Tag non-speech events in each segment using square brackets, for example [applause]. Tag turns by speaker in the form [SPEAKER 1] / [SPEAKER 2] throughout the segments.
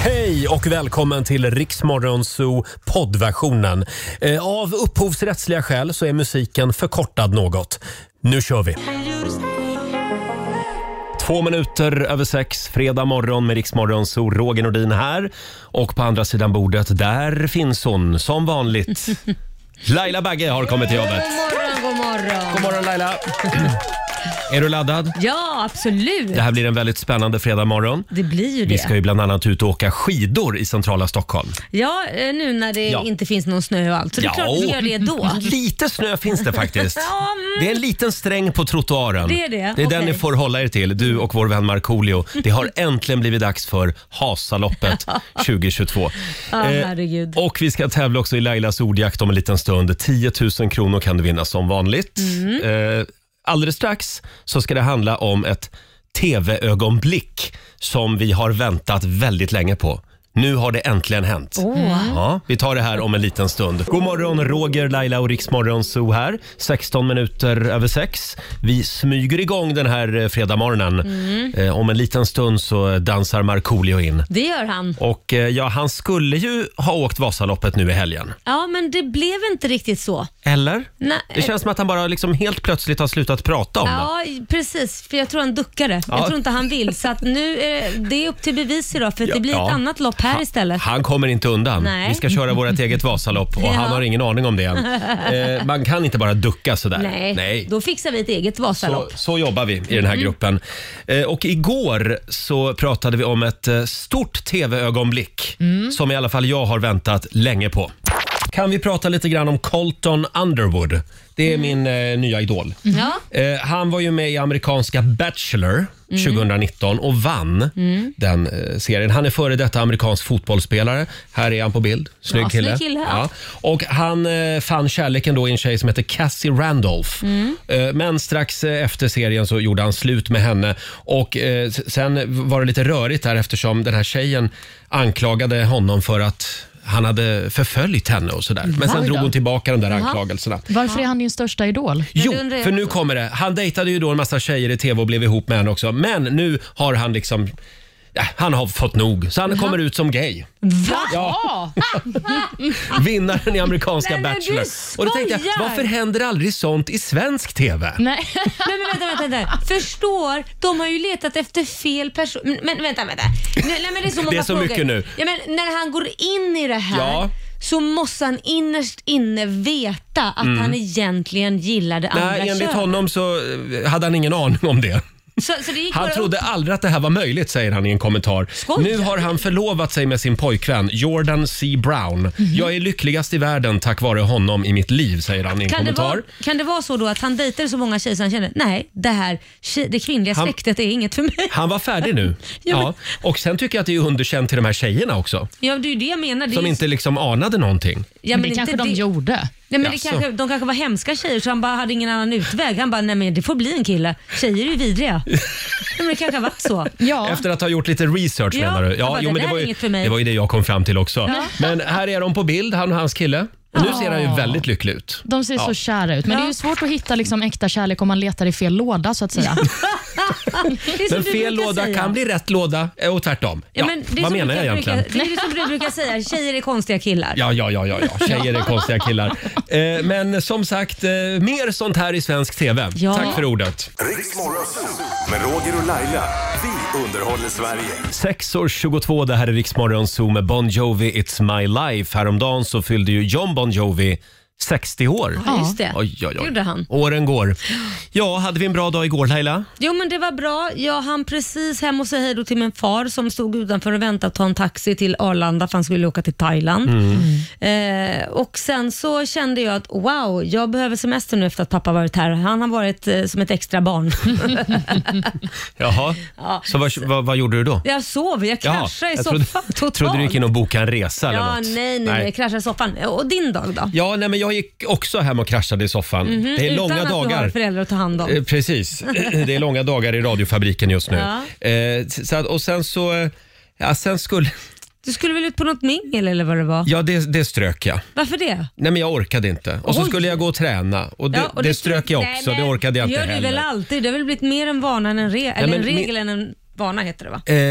[SPEAKER 1] Hej och välkommen till Riksmorgonzoo poddversionen. Eh, Av upphovsrättsliga skäl så är musiken förkortad något. Nu kör vi! Två minuter över sex, fredag morgon med Riksmorgonzoo. Roger Nordin här. Och på andra sidan bordet, där finns hon som vanligt. Laila Bagge har kommit till jobbet.
[SPEAKER 2] morgon, god morgon.
[SPEAKER 1] God morgon Laila! Är du laddad?
[SPEAKER 2] Ja, absolut.
[SPEAKER 1] Det här blir en väldigt spännande fredag morgon.
[SPEAKER 2] Det blir ju
[SPEAKER 1] Vi
[SPEAKER 2] det.
[SPEAKER 1] ska ju bland annat ut och åka skidor i centrala Stockholm.
[SPEAKER 2] Ja, eh, nu när det
[SPEAKER 1] Ja.
[SPEAKER 2] inte finns någon snö och allt. Så det är
[SPEAKER 1] Ja. Mm.
[SPEAKER 2] klart vi gör det då.
[SPEAKER 1] [laughs] Lite snö finns det faktiskt.
[SPEAKER 2] [laughs] Ja, mm.
[SPEAKER 1] Det är en liten sträng på trottoaren.
[SPEAKER 2] Det är det?
[SPEAKER 1] det är den
[SPEAKER 2] Okej.
[SPEAKER 1] ni får hålla er till, du och vår vän Markoolio. Det
[SPEAKER 2] [laughs]
[SPEAKER 1] har äntligen blivit dags för Hasaloppet 2022.
[SPEAKER 2] Ja,
[SPEAKER 1] Eh,
[SPEAKER 2] herregud.
[SPEAKER 1] och vi ska tävla också i Lailas ordjakt om en liten stund. 10 000 kronor kan du vinna som vanligt.
[SPEAKER 2] Mm.
[SPEAKER 1] Eh, alldeles strax så ska det handla om ett tv-ögonblick som vi har väntat väldigt länge på. Nu har det äntligen hänt. Ja, vi tar det här om en liten stund. God morgon, Roger, Laila och Riksmorgon Zoo här. 16 minuter över 6. Vi smyger igång den här eh, fredagmorgonen.
[SPEAKER 2] Mm.
[SPEAKER 1] Eh, om en liten stund så dansar Markoolio in.
[SPEAKER 2] Det gör han.
[SPEAKER 1] Och eh, ja, han skulle ju ha åkt Vasaloppet nu i helgen.
[SPEAKER 2] Ja, men det blev inte riktigt så.
[SPEAKER 1] Eller?
[SPEAKER 2] Nej.
[SPEAKER 1] Det känns som att han bara liksom helt plötsligt har slutat prata om det.
[SPEAKER 2] Ja, precis. För jag tror han duckade.
[SPEAKER 1] Ja.
[SPEAKER 2] Jag tror inte han vill. Så att nu är det, det är upp till bevis idag för att
[SPEAKER 1] Ja,
[SPEAKER 2] det blir
[SPEAKER 1] ja.
[SPEAKER 2] ett annat lopp här istället.
[SPEAKER 1] Han kommer inte undan.
[SPEAKER 2] Nej.
[SPEAKER 1] Vi ska köra vårt
[SPEAKER 2] [laughs]
[SPEAKER 1] eget Vasalopp och
[SPEAKER 2] Ja.
[SPEAKER 1] han har ingen aning om det
[SPEAKER 2] [laughs]
[SPEAKER 1] än. Eh, man kan inte bara ducka sådär.
[SPEAKER 2] Nej. då fixar vi ett eget
[SPEAKER 1] Så,
[SPEAKER 2] Vasalopp.
[SPEAKER 1] så jobbar vi i den här gruppen. Eh, och igår så pratade vi om ett eh, stort tv-ögonblick som i alla fall jag har väntat länge på. Kan vi prata lite grann om Colton Underwood? Det är min eh, nya idol.
[SPEAKER 2] Ja.
[SPEAKER 1] Eh, han var ju med i amerikanska Bachelor 2019 och vann den eh, serien. Han är före detta amerikansk fotbollsspelare. Här är han på bild. Snygg
[SPEAKER 2] Ja, snygg
[SPEAKER 1] kille.
[SPEAKER 2] kille, ja.
[SPEAKER 1] Och han eh, fann kärleken då i en tjej som heter Cassie Randolph.
[SPEAKER 2] Mm.
[SPEAKER 1] Eh, men strax eh, efter serien så gjorde han slut med henne. Och eh, s- Sen var det lite rörigt där eftersom den här tjejen anklagade honom för att han hade förföljt henne och sådär. Men sen
[SPEAKER 3] Oj då.
[SPEAKER 1] drog hon tillbaka de där anklagelserna.
[SPEAKER 3] Varför är han din största idol?
[SPEAKER 1] Jo,
[SPEAKER 2] det undrar jag
[SPEAKER 1] för nu
[SPEAKER 2] också.
[SPEAKER 1] kommer det. Han dejtade ju då en massa tjejer i tv och blev ihop med henne också. Men nu har han liksom... ja, Han har fått nog, så han kommer ut som gay.
[SPEAKER 2] Va?
[SPEAKER 1] Ja. Vinnaren i amerikanska
[SPEAKER 2] Nej, men du
[SPEAKER 1] Bachelor. Och då tänkte jag,
[SPEAKER 2] skojar.
[SPEAKER 1] varför händer aldrig sånt i svensk tv?
[SPEAKER 3] [laughs] Nej.
[SPEAKER 2] Men, men vänta, vänta, vänta. Förstår, de har ju letat efter fel person. Men, men vänta, vänta. Nu, nej, men det är så, många
[SPEAKER 1] Det är så
[SPEAKER 2] frågor.
[SPEAKER 1] mycket nu.
[SPEAKER 2] Ja, men när han går in i det här
[SPEAKER 1] Ja.
[SPEAKER 2] så måste han innerst inne veta att han egentligen gillar det andra
[SPEAKER 1] Mm. Nej, enligt
[SPEAKER 2] könet.
[SPEAKER 1] honom så eh, hade han ingen aning om det.
[SPEAKER 2] Så, så det gick
[SPEAKER 1] Han
[SPEAKER 2] bara
[SPEAKER 1] trodde aldrig att det här var möjligt, säger han i en kommentar. Nu
[SPEAKER 2] Skojar
[SPEAKER 1] har han förlovat sig med sin pojkvän Jordan C.
[SPEAKER 2] Mhm.
[SPEAKER 1] Brown. Jag är lyckligast i världen tack vare honom i mitt liv, säger han i en
[SPEAKER 2] Kan det,
[SPEAKER 1] kommentar.
[SPEAKER 2] vara, kan det vara så då att han dejtade så många tjejer så han kände nej, det här tje- det kvinnliga
[SPEAKER 1] Han-
[SPEAKER 2] släktet är inget för mig. [laughs]
[SPEAKER 1] Han var färdig nu.
[SPEAKER 2] Ja, men-
[SPEAKER 1] ja. Och sen tycker jag att det är underkänt till de här tjejerna också.
[SPEAKER 2] Ja, det är ju det jag menar. Det är
[SPEAKER 1] Som
[SPEAKER 2] ju-
[SPEAKER 1] inte liksom anade någonting.
[SPEAKER 2] ja,
[SPEAKER 3] men det kanske
[SPEAKER 2] inte
[SPEAKER 3] de
[SPEAKER 2] det-
[SPEAKER 3] gjorde.
[SPEAKER 2] Nej, men det
[SPEAKER 1] Jaså.
[SPEAKER 2] kanske, de kanske var hemska tjejer så han bara hade ingen annan utväg. Han bara, nej men det får bli en kille. Tjejer är
[SPEAKER 1] [laughs]
[SPEAKER 2] ju vidriga. nej, men det kanske har varit så.
[SPEAKER 3] Ja.
[SPEAKER 1] Efter att ha gjort lite research
[SPEAKER 2] Ja,
[SPEAKER 1] menar du?
[SPEAKER 2] jag bara,
[SPEAKER 1] jo,
[SPEAKER 2] det
[SPEAKER 1] men
[SPEAKER 2] där
[SPEAKER 1] det, var
[SPEAKER 2] är
[SPEAKER 1] ju,
[SPEAKER 2] inget för mig.
[SPEAKER 1] det var ju det jag kom fram till också. Men här är de på bild, han och hans kille. Och nu
[SPEAKER 2] Ja.
[SPEAKER 1] ser han ju väldigt lycklig ut.
[SPEAKER 3] De ser
[SPEAKER 1] Ja.
[SPEAKER 3] så kära ut, men det är
[SPEAKER 2] Ja.
[SPEAKER 3] ju svårt att hitta liksom, äkta kärlek om man letar i fel låda. så
[SPEAKER 1] [laughs]
[SPEAKER 3] att säga.
[SPEAKER 2] Det är som
[SPEAKER 1] Men
[SPEAKER 2] du
[SPEAKER 1] fel
[SPEAKER 2] brukar
[SPEAKER 1] låda
[SPEAKER 2] säga.
[SPEAKER 1] kan bli rätt låda eh, och tvärtom. Ja,
[SPEAKER 2] men det är
[SPEAKER 1] vad
[SPEAKER 2] som
[SPEAKER 1] menar
[SPEAKER 2] du
[SPEAKER 1] jag egentligen?
[SPEAKER 2] Brukar, det är som du
[SPEAKER 1] [laughs]
[SPEAKER 2] brukar säga, tjejer är konstiga killar.
[SPEAKER 1] Ja, ja, ja, ja,
[SPEAKER 2] [laughs]
[SPEAKER 1] ja. tjejer är konstiga killar. Eh, men som sagt, eh, mer sånt här i svensk TV.
[SPEAKER 2] Ja.
[SPEAKER 1] Tack för ordet.
[SPEAKER 4] Riksmorgonzoo med Roger och Laila. Vi underhåller Sverige.
[SPEAKER 1] 6 år 22, det här är Riksmorgon Zoo med Bon Jovi, It's My Life. Häromdagen så fyllde ju John Bon Jovi 60 år.
[SPEAKER 2] Ja, just det.
[SPEAKER 1] Oj, oj, oj.
[SPEAKER 2] gjorde han.
[SPEAKER 1] Åren går. Ja, hade vi en bra dag igår Laila?
[SPEAKER 2] Jo men det var bra. Jag hann precis hem och säga hej då till min far som stod utanför och väntade att ta en taxi till Arlanda för han skulle åka till Thailand.
[SPEAKER 1] Mm.
[SPEAKER 2] Eh, och Sen så kände jag att wow, jag behöver semester nu efter att pappa varit här. Han har varit eh, som ett extra barn. [laughs]
[SPEAKER 1] Jaha. Så vad, vad, vad gjorde du då?
[SPEAKER 2] Jag sov, jag kraschade i
[SPEAKER 1] jag
[SPEAKER 2] soffan
[SPEAKER 1] trodde,
[SPEAKER 2] totalt.
[SPEAKER 1] trodde du gick in och bokade en resa eller
[SPEAKER 2] Ja,
[SPEAKER 1] något.
[SPEAKER 2] nej, nej, nej, jag kraschade i soffan. Och din dag då? Mm,
[SPEAKER 1] Ja, nej, men jag gick också hem och kraschade i soffan. Det är
[SPEAKER 2] Mhm, Utan
[SPEAKER 1] långa
[SPEAKER 2] att du har
[SPEAKER 1] dagar.
[SPEAKER 2] föräldrar att ta hand om.
[SPEAKER 1] Eh, Precis. [clears throat] Det är långa dagar i radiofabriken just nu.
[SPEAKER 2] Ja.
[SPEAKER 1] Eh, så att, och sen så... eh, Ja, sen skulle,
[SPEAKER 2] Du skulle väl ut på något mingel eller vad det var?
[SPEAKER 1] ja det, det strök jag.
[SPEAKER 2] Varför det?
[SPEAKER 1] Nej men jag orkade inte. Och så
[SPEAKER 2] Oj.
[SPEAKER 1] skulle jag gå och träna och det,
[SPEAKER 2] Ja, och liksom-
[SPEAKER 1] det strök jag
[SPEAKER 2] Nej,
[SPEAKER 1] också.
[SPEAKER 2] men
[SPEAKER 1] det orkade jag inte
[SPEAKER 2] gör
[SPEAKER 1] heller.
[SPEAKER 2] du väl alltid. Det har väl blivit mer en vana än en, re- eller
[SPEAKER 1] men
[SPEAKER 2] en
[SPEAKER 1] min-
[SPEAKER 2] regel än en vana heter det va?
[SPEAKER 1] Eh,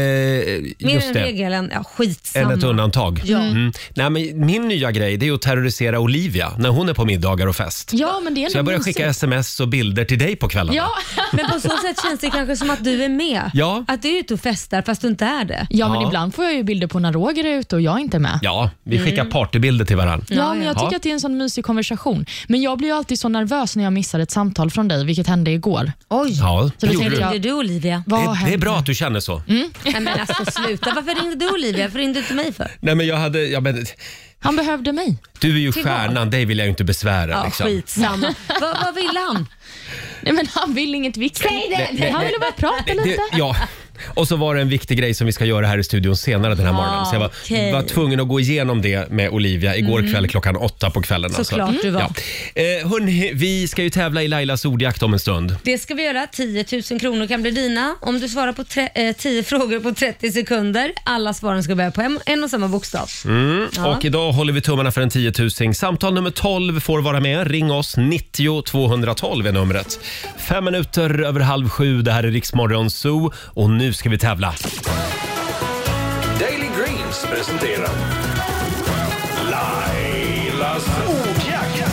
[SPEAKER 2] Mer
[SPEAKER 1] just
[SPEAKER 2] en
[SPEAKER 1] det.
[SPEAKER 2] regel än, ja skitsamma.
[SPEAKER 1] Än ett undantag.
[SPEAKER 2] Ja.
[SPEAKER 1] Mm. Nej, men min nya grej det är att terrorisera Olivia när hon är på middagar och fest.
[SPEAKER 3] Ja, men det är
[SPEAKER 1] Så jag
[SPEAKER 3] nog
[SPEAKER 1] börjar
[SPEAKER 3] mysigt.
[SPEAKER 1] skicka sms och bilder till dig på kvällarna.
[SPEAKER 3] Ja.
[SPEAKER 2] [laughs] Men på så sätt känns det kanske som att du är med.
[SPEAKER 1] Ja.
[SPEAKER 2] Att du är ute och festar fast du inte är det.
[SPEAKER 3] ja, men
[SPEAKER 1] Ja.
[SPEAKER 3] ibland får jag ju bilder på när Roger är ute och jag inte är med.
[SPEAKER 1] Ja, vi
[SPEAKER 2] Mm.
[SPEAKER 1] skickar partybilder till varandra.
[SPEAKER 3] Ja, men jag
[SPEAKER 1] Ja.
[SPEAKER 3] tycker att det är en sån mysig konversation. Men jag blir ju alltid så nervös när jag missar ett samtal från dig, vilket hände igår.
[SPEAKER 2] Oj,
[SPEAKER 1] Ja, det
[SPEAKER 3] då
[SPEAKER 1] gjorde
[SPEAKER 3] tänkte
[SPEAKER 1] du.
[SPEAKER 3] jag-
[SPEAKER 2] ringde du Olivia?
[SPEAKER 3] Vad
[SPEAKER 1] Det, det
[SPEAKER 3] hände?
[SPEAKER 1] är bra att du känner så.
[SPEAKER 2] Nej men alltså sluta, varför ringde du Olivia? Varför ringde du inte mig för?
[SPEAKER 1] Nej, men jag hade, ja, men,
[SPEAKER 3] Han behövde mig.
[SPEAKER 1] du är ju
[SPEAKER 2] Till vad?
[SPEAKER 1] stjärnan, dig vill jag ju inte besvära.
[SPEAKER 2] Ja,
[SPEAKER 1] liksom.
[SPEAKER 2] skitsamma. Vad vad ville han?
[SPEAKER 3] Nej, men han vill inget viktigt.
[SPEAKER 1] Nej, nej,
[SPEAKER 3] Han
[SPEAKER 1] nej.
[SPEAKER 3] ville bara prata
[SPEAKER 1] Det,
[SPEAKER 3] lite.
[SPEAKER 1] ja. Och så var det en viktig grej som vi ska göra här i studion senare den här morgonen. Så jag var,
[SPEAKER 2] okej. Mm.
[SPEAKER 1] var tvungen att gå igenom det med Olivia igår kväll klockan åtta på kvällen. alltså.
[SPEAKER 2] Såklart du var.
[SPEAKER 1] Ja. Eh, hörni, vi ska ju tävla i Lailas ordjakt om en stund.
[SPEAKER 2] Det ska vi göra. 10 000 kronor kan bli dina om du svarar på tre, eh, 10 [laughs] frågor på 30 sekunder. Alla svaren ska börja på en, en och samma bokstav.
[SPEAKER 1] Mm.
[SPEAKER 2] Ja.
[SPEAKER 1] Och idag håller vi tummarna för en 10 000. Samtal nummer 12 får vara med. Ring oss, 90 212 är numret. Fem minuter över halv sju, det här är Riksmorgon Zoo och nu ska vi tävla.
[SPEAKER 4] Daily Greens presenterar Lailas ordjakt.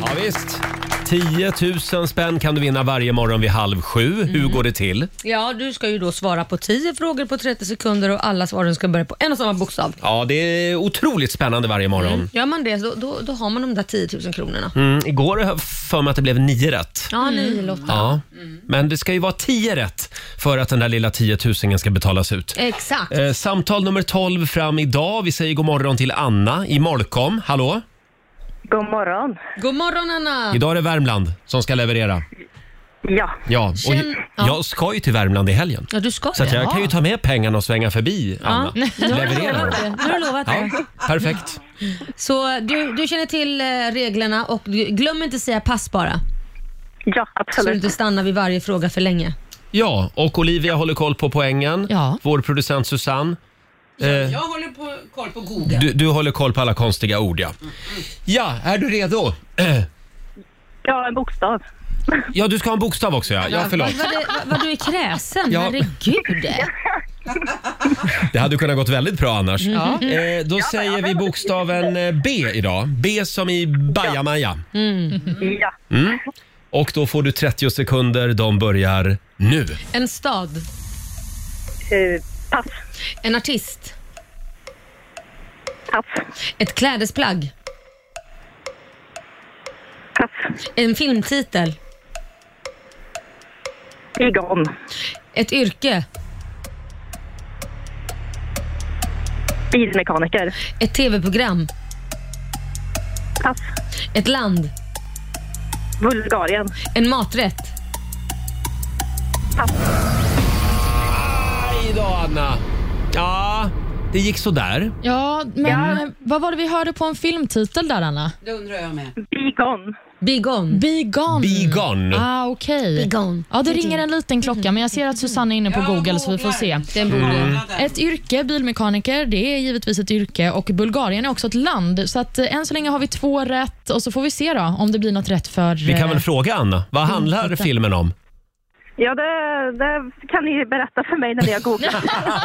[SPEAKER 1] Ja, visst. 10 000 spänn kan du vinna varje morgon vid halv sju. Hur går det till?
[SPEAKER 2] Ja, du ska ju då svara på 10 frågor på 30 sekunder och alla svaren ska börja på en och samma bokstav.
[SPEAKER 1] Ja, det är otroligt spännande varje morgon.
[SPEAKER 2] Gör man det, då, då, då har man de där 10 000 kronorna.
[SPEAKER 1] Mm, igår har jag för mig att det blev nio rätt.
[SPEAKER 2] Ja, Mm. ni Lotta.
[SPEAKER 1] Ja. Men det ska ju vara tio rätt för att den där lilla tiotusingen ska betalas ut.
[SPEAKER 2] Exakt.
[SPEAKER 1] Eh, samtal nummer 12 fram idag. Vi säger god morgon till Anna i Molkom. Hallå?
[SPEAKER 5] God morgon.
[SPEAKER 2] God morgon Anna!
[SPEAKER 1] Idag är det Värmland som ska leverera.
[SPEAKER 5] Ja,
[SPEAKER 1] Ja, och
[SPEAKER 2] Känn- ja.
[SPEAKER 1] jag ska ju till Värmland i helgen.
[SPEAKER 2] Ja, du ska
[SPEAKER 1] Så att jag
[SPEAKER 2] det.
[SPEAKER 1] kan ju ta med pengarna och svänga förbi
[SPEAKER 2] [laughs]
[SPEAKER 1] Anna.
[SPEAKER 2] Nu har du
[SPEAKER 1] Leverera
[SPEAKER 2] lovat
[SPEAKER 1] dem.
[SPEAKER 2] det. Nu har du lovat
[SPEAKER 1] Ja,
[SPEAKER 2] det.
[SPEAKER 1] perfekt.
[SPEAKER 2] Så du, du känner till eh, reglerna och du- glöm inte säga pass bara.
[SPEAKER 5] ja
[SPEAKER 2] Så du
[SPEAKER 5] absolut.
[SPEAKER 2] inte stannar vid varje fråga för länge.
[SPEAKER 1] Ja, och Olivia håller koll på poängen.
[SPEAKER 3] Ja.
[SPEAKER 1] Vår producent Susanne. Eh,
[SPEAKER 6] Jag håller på, koll på Google. Mm,
[SPEAKER 1] Du, du håller koll på alla konstiga ord, ja. Ja, är du redo?
[SPEAKER 5] Ja, en bokstav.
[SPEAKER 1] Ja, du ska ha en bokstav också, ja. Ja, förlåt.
[SPEAKER 2] Vad, det, vad, vad du är kräsen,
[SPEAKER 1] Ja.
[SPEAKER 2] herregud.
[SPEAKER 1] Det hade kunnat gått väldigt bra annars.
[SPEAKER 3] Mm.
[SPEAKER 1] Eh, då säger vi bokstaven eh, B idag. B som i bajamaja. Mm.
[SPEAKER 5] Ja,
[SPEAKER 1] Och då får du 30 sekunder. De börjar nu.
[SPEAKER 2] En stad,
[SPEAKER 5] eh, pass.
[SPEAKER 2] en artist,
[SPEAKER 5] Pass.
[SPEAKER 2] ett klädesplagg,
[SPEAKER 5] Pass.
[SPEAKER 2] en filmtitel,
[SPEAKER 5] Igång.
[SPEAKER 2] ett yrke,
[SPEAKER 5] Bilmekaniker.
[SPEAKER 2] ett tv-program,
[SPEAKER 5] Pass.
[SPEAKER 2] ett land,
[SPEAKER 5] Bulgarien.
[SPEAKER 2] en maträtt.
[SPEAKER 1] Aj då, Anna. Ja, det gick sådär.
[SPEAKER 3] Ja, men eh, vad var det vi hörde på en filmtitel där, Anna?
[SPEAKER 6] Det undrar jag med.
[SPEAKER 5] Bigon.
[SPEAKER 2] Be gone.
[SPEAKER 3] Be gone.
[SPEAKER 1] Be gone.
[SPEAKER 3] Ah, okej.
[SPEAKER 2] Be gone.
[SPEAKER 3] Ja, det ringer en liten klocka, men jag ser att Susanne är inne på
[SPEAKER 6] Ja,
[SPEAKER 3] Google, så vi får
[SPEAKER 6] googlar.
[SPEAKER 3] se.
[SPEAKER 2] Den borde...
[SPEAKER 1] Mm.
[SPEAKER 3] Ett yrke, bilmekaniker, det är givetvis ett yrke och Bulgarien är också ett land. Så att eh, än så länge har vi två rätt och så får vi se då om det blir något rätt för...
[SPEAKER 1] Vi kan väl
[SPEAKER 3] eh,
[SPEAKER 1] fråga Anna. Vad handlar filmen om?
[SPEAKER 5] Ja, det, det kan ni berätta för mig när ni
[SPEAKER 1] [laughs]
[SPEAKER 5] har googlat.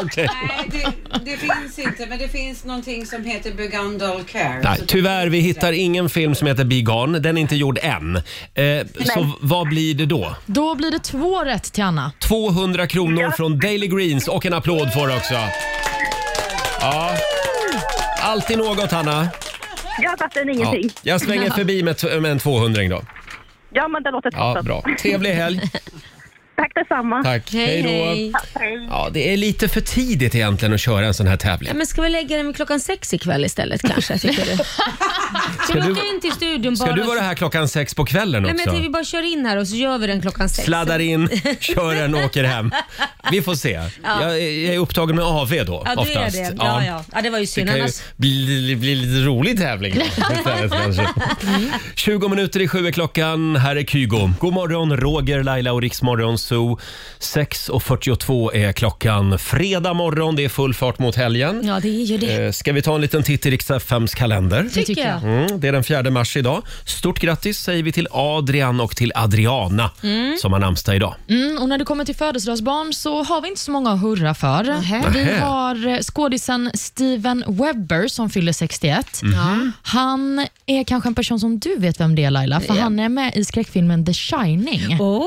[SPEAKER 1] Okej.
[SPEAKER 6] Nej, det, det finns inte, men det finns någonting som heter Begundal Care.
[SPEAKER 1] Nej,
[SPEAKER 6] Så det-
[SPEAKER 1] tyvärr, vi hittar ingen film som heter Be gone. Den är inte gjord än. Eh, så vad blir det då?
[SPEAKER 3] Då blir det två rätt till Anna.
[SPEAKER 1] 200 kronor från Daily Greens och en applåd får du också. Ja. Alltid något, Hanna.
[SPEAKER 5] Jag fattar
[SPEAKER 1] Ja.
[SPEAKER 5] ingenting.
[SPEAKER 1] Jag svänger förbi med, t- med en 200 då.
[SPEAKER 5] Ja, men det låter
[SPEAKER 1] Ja,
[SPEAKER 5] toppen.
[SPEAKER 1] bra. Trevlig helg.
[SPEAKER 5] Tack detsamma.
[SPEAKER 1] Tack.
[SPEAKER 2] Hej,
[SPEAKER 1] då.
[SPEAKER 2] hej.
[SPEAKER 5] Hej.
[SPEAKER 1] Ja, det är lite för tidigt egentligen att köra en sån här tävling.
[SPEAKER 2] Ja, men ska vi lägga den vid klockan sex ikväll istället kanske? Tycker
[SPEAKER 1] [laughs]
[SPEAKER 2] du? Ska
[SPEAKER 1] du-
[SPEAKER 2] vi åka in till studion bara?
[SPEAKER 1] Ska du
[SPEAKER 2] och-
[SPEAKER 1] vara här klockan sex på kvällen
[SPEAKER 2] Nej, men jag
[SPEAKER 1] också?
[SPEAKER 2] [laughs] tycker vi bara kör in här och så gör vi den klockan sex.
[SPEAKER 1] Sladdar in, kör den och åker hem. vi får se. Jag, jag är upptagen med AV då,
[SPEAKER 2] Ja, du är
[SPEAKER 1] oftast.
[SPEAKER 2] det. Ja, ja. ja, det var ju
[SPEAKER 1] Det
[SPEAKER 2] synd.
[SPEAKER 1] kan ju
[SPEAKER 2] Annars,
[SPEAKER 1] bli, bli lite rolig tävling.
[SPEAKER 2] [laughs]
[SPEAKER 1] istället kanske. 20 minuter i sju är klockan. Här är Kygo. God morgon, Roger, Laila och Riksmorgon Zoo. 6.42 är klockan. Fredag morgon, det är full fart mot helgen.
[SPEAKER 2] ja, det är ju det.
[SPEAKER 1] Eh, Ska vi ta en liten titt i riks FMs kalender?
[SPEAKER 2] Det tycker jag.
[SPEAKER 1] Mm, det är den 4 mars idag. Stort grattis säger vi till Adrian och till Adriana som har namnsdag idag.
[SPEAKER 3] Mm, och när det kommer till födelsedagsbarn så har vi inte så många att hurra för. Vi
[SPEAKER 1] Nähä.
[SPEAKER 3] har eh, skådisen Steven Webber som fyller 61.
[SPEAKER 1] Mhm.
[SPEAKER 3] Han är kanske en person som du vet vem det är Laila, för han är med i skräckfilmen The Shining.
[SPEAKER 2] Oh,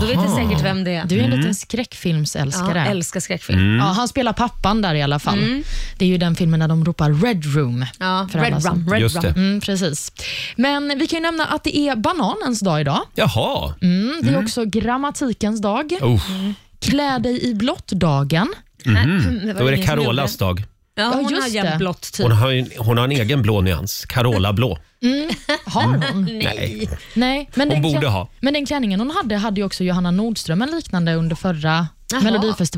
[SPEAKER 2] då vet jag säkert vem det är.
[SPEAKER 3] Du är en
[SPEAKER 1] Mm.
[SPEAKER 3] liten
[SPEAKER 2] ja,
[SPEAKER 3] skräckfilmsälskare.
[SPEAKER 2] älskar skräckfilm.
[SPEAKER 3] Ja, han spelar pappan där i alla fall. Det är ju den filmen när de ropar Red Room.
[SPEAKER 2] Ja,
[SPEAKER 3] för alla
[SPEAKER 2] Red
[SPEAKER 3] som-
[SPEAKER 2] Rum. Red
[SPEAKER 1] Just
[SPEAKER 2] Rum.
[SPEAKER 1] det.
[SPEAKER 3] Mm, precis. Men vi kan ju nämna att det är bananens dag idag.
[SPEAKER 1] Jaha.
[SPEAKER 3] Mm, det är också grammatikens dag.
[SPEAKER 1] Oh,
[SPEAKER 2] Mm.
[SPEAKER 3] Klä dig i blått-dagen.
[SPEAKER 2] Det var
[SPEAKER 1] då är det
[SPEAKER 2] ingen som gjorde
[SPEAKER 1] Carolas dag.
[SPEAKER 2] Ja, hon
[SPEAKER 3] just
[SPEAKER 2] har
[SPEAKER 3] det.
[SPEAKER 2] jämt blått typ.
[SPEAKER 1] Hon har, ju- hon har en egen blå nyans. Carola
[SPEAKER 2] [laughs]
[SPEAKER 1] blå. Mm.
[SPEAKER 3] Har hon?
[SPEAKER 1] Nej.
[SPEAKER 3] Nej, men
[SPEAKER 1] Hon
[SPEAKER 3] den
[SPEAKER 1] borde
[SPEAKER 3] klä-
[SPEAKER 1] ha.
[SPEAKER 3] Men den klänningen hon hade hade ju också Johanna Nordström en liknande under förra
[SPEAKER 2] Jaha.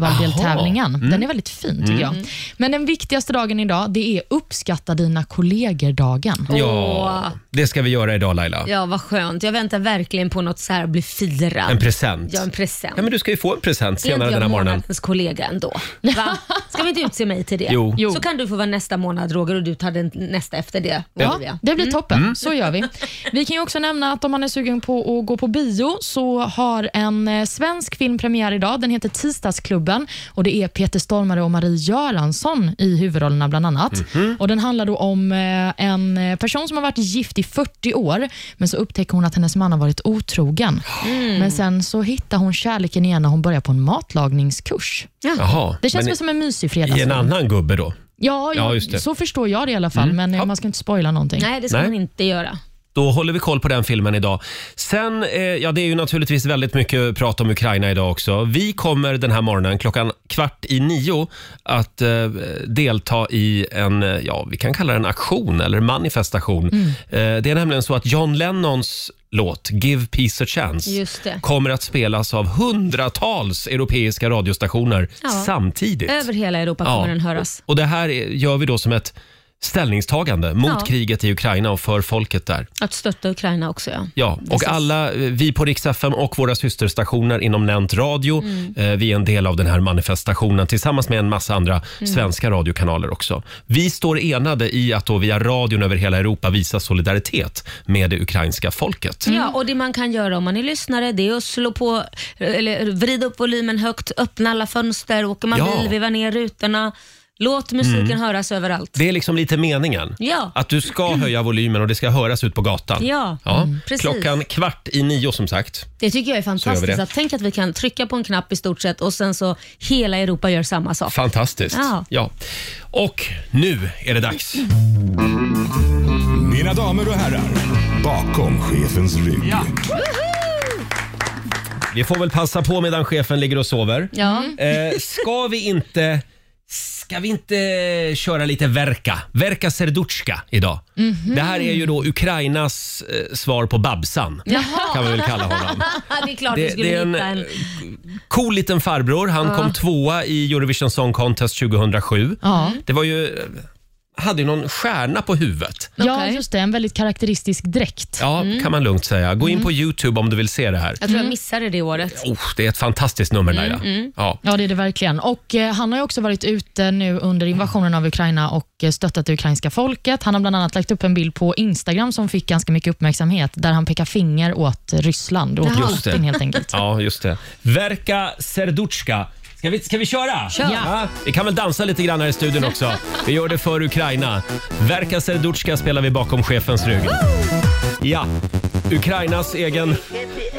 [SPEAKER 3] Melodifestivaldeltävlingen.
[SPEAKER 1] Mm.
[SPEAKER 3] Den är väldigt fin tycker jag. Men den viktigaste dagen idag, det är uppskatta dina kollegor-dagen.
[SPEAKER 1] Ja, det ska vi göra idag Laila.
[SPEAKER 2] Ja, vad skönt. Jag väntar verkligen på något så här att bli firad.
[SPEAKER 1] En present.
[SPEAKER 2] Ja, en present.
[SPEAKER 1] Ja, men du ska ju få en present
[SPEAKER 2] Är inte
[SPEAKER 1] senare
[SPEAKER 2] jag
[SPEAKER 1] den här morgonen.
[SPEAKER 2] månadens kollega
[SPEAKER 1] [laughs]
[SPEAKER 2] ändå? Va? Ska vi inte utse mig till det?
[SPEAKER 1] Jo.
[SPEAKER 3] Jo.
[SPEAKER 2] Så kan du få vara nästa månad Roger och du tar den nästa efter det. Olivia.
[SPEAKER 3] Det
[SPEAKER 1] Mm.
[SPEAKER 3] blir toppen. Så gör vi. Vi kan ju också nämna att om man är sugen på att gå på bio så har en eh, svensk film premiär idag. Den heter Tisdagsklubben och det är Peter Stormare och Marie Göransson i huvudrollerna bland annat.
[SPEAKER 1] Mhm.
[SPEAKER 3] Och Den handlar då om eh, en eh, person som har varit gift i 40 år men så upptäcker hon att hennes man har varit otrogen.
[SPEAKER 1] Mm.
[SPEAKER 3] Men sen så hittar hon kärleken igen när hon börjar på en matlagningskurs.
[SPEAKER 1] Jaha,
[SPEAKER 3] Det känns
[SPEAKER 1] men
[SPEAKER 3] väl som en
[SPEAKER 1] i
[SPEAKER 3] mysig
[SPEAKER 1] en
[SPEAKER 3] fredagsfilm.
[SPEAKER 1] annan gubbe då.
[SPEAKER 3] Ja,
[SPEAKER 1] Ja,
[SPEAKER 3] ja,
[SPEAKER 1] just det. Mm.
[SPEAKER 3] så förstår jag det i alla fall, men eh, man ska inte spoila någonting.
[SPEAKER 2] Nej, det ska
[SPEAKER 1] Nej.
[SPEAKER 2] man inte göra.
[SPEAKER 1] Då håller vi koll på den filmen idag. Sen, eh, ja det är ju naturligtvis väldigt mycket prat om Ukraina idag också. Vi kommer den här morgonen klockan kvart i nio att eh, delta i en, eh, ja vi kan kalla det en aktion eller manifestation.
[SPEAKER 2] Mm.
[SPEAKER 1] Eh, det är nämligen så att John Lennons låt Give Peace a Chance
[SPEAKER 2] Just det.
[SPEAKER 1] kommer att spelas av hundratals europeiska radiostationer
[SPEAKER 2] Ja.
[SPEAKER 1] samtidigt.
[SPEAKER 2] Över hela Europa kommer den höras.
[SPEAKER 1] Och det här är- gör vi då som ett ställningstagande mot
[SPEAKER 2] Ja.
[SPEAKER 1] kriget i Ukraina och för folket där.
[SPEAKER 2] Att stötta Ukraina också ja.
[SPEAKER 1] Ja, och
[SPEAKER 2] Precis.
[SPEAKER 1] alla eh, vi på Rix FM och våra systerstationer inom Nent Radio,
[SPEAKER 2] Mm.
[SPEAKER 1] eh, vi är en del av den här manifestationen tillsammans med en massa andra
[SPEAKER 2] Mm.
[SPEAKER 1] svenska radiokanaler också. Vi står enade i att då via radion över hela Europa visa solidaritet med det ukrainska folket.
[SPEAKER 2] Ja, och det man kan göra om man är lyssnare det är att slå på, eller vrida upp volymen högt, öppna alla fönster, åker man
[SPEAKER 1] Ja. Mm.
[SPEAKER 2] bil, viva ner rutorna. Låt musiken höras överallt.
[SPEAKER 1] Det är liksom lite meningen.
[SPEAKER 2] Ja.
[SPEAKER 1] Att du ska höja volymen och det ska höras ut på gatan.
[SPEAKER 2] Ja, mm, precis.
[SPEAKER 1] Klockan kvart i nio som sagt.
[SPEAKER 2] Det tycker jag är
[SPEAKER 1] Så gör vi
[SPEAKER 2] fantastiskt.
[SPEAKER 1] det.
[SPEAKER 2] Att tänk att vi kan trycka på en knapp i stort sett och sen så hela Europa gör samma sak.
[SPEAKER 1] Fantastiskt.
[SPEAKER 2] Ja.
[SPEAKER 1] Ja. Och nu är det dags.
[SPEAKER 4] Mina damer och herrar, bakom chefens rygg.
[SPEAKER 1] Vi får väl passa på medan chefen ligger och sover.
[SPEAKER 2] Ja. [laughs]
[SPEAKER 1] Eh, ska vi inte... Ska vi inte köra lite Verka? Verka Serdutska idag. Det här är ju då Ukrainas eh, svar på Babsan,
[SPEAKER 2] [laughs]
[SPEAKER 1] kan vi väl kalla honom.
[SPEAKER 2] det är klart
[SPEAKER 1] Det-
[SPEAKER 2] vi skulle
[SPEAKER 1] det är en- Mm.
[SPEAKER 2] hitta en...
[SPEAKER 1] Cool liten farbror. Han kom tvåa i Eurovision Song Contest 2007.
[SPEAKER 3] Ja.
[SPEAKER 1] Det var ju... Hade ju någon stjärna på huvudet.
[SPEAKER 3] Ja,
[SPEAKER 2] Okej.
[SPEAKER 3] just det. En väldigt karaktäristisk dräkt.
[SPEAKER 1] Ja, kan man lugnt säga. Gå in på Youtube om du vill se det här.
[SPEAKER 2] Jag tror jag missade det året.
[SPEAKER 1] Oh, det är ett fantastiskt nummer, Laila. Ja.
[SPEAKER 3] Ja, det är det verkligen. Och eh, Han har ju också varit ute nu under invasionen av Ukraina och eh, stöttat det ukrainska folket. Han har bland annat lagt upp en bild på Instagram som fick ganska mycket uppmärksamhet, där han pekar finger åt eh, Ryssland, åt
[SPEAKER 1] Jaha. Just det.
[SPEAKER 3] Putin helt enkelt.
[SPEAKER 1] [laughs] Ja, just det. Verka Serdutska. Ska vi, ska vi köra?
[SPEAKER 2] Kör.
[SPEAKER 1] Ja. Vi kan väl dansa lite grann här i studion också. Vi gör det för Ukraina. Verka Serdutska spelar vi bakom chefens rygg. Ja, Ukrainas egen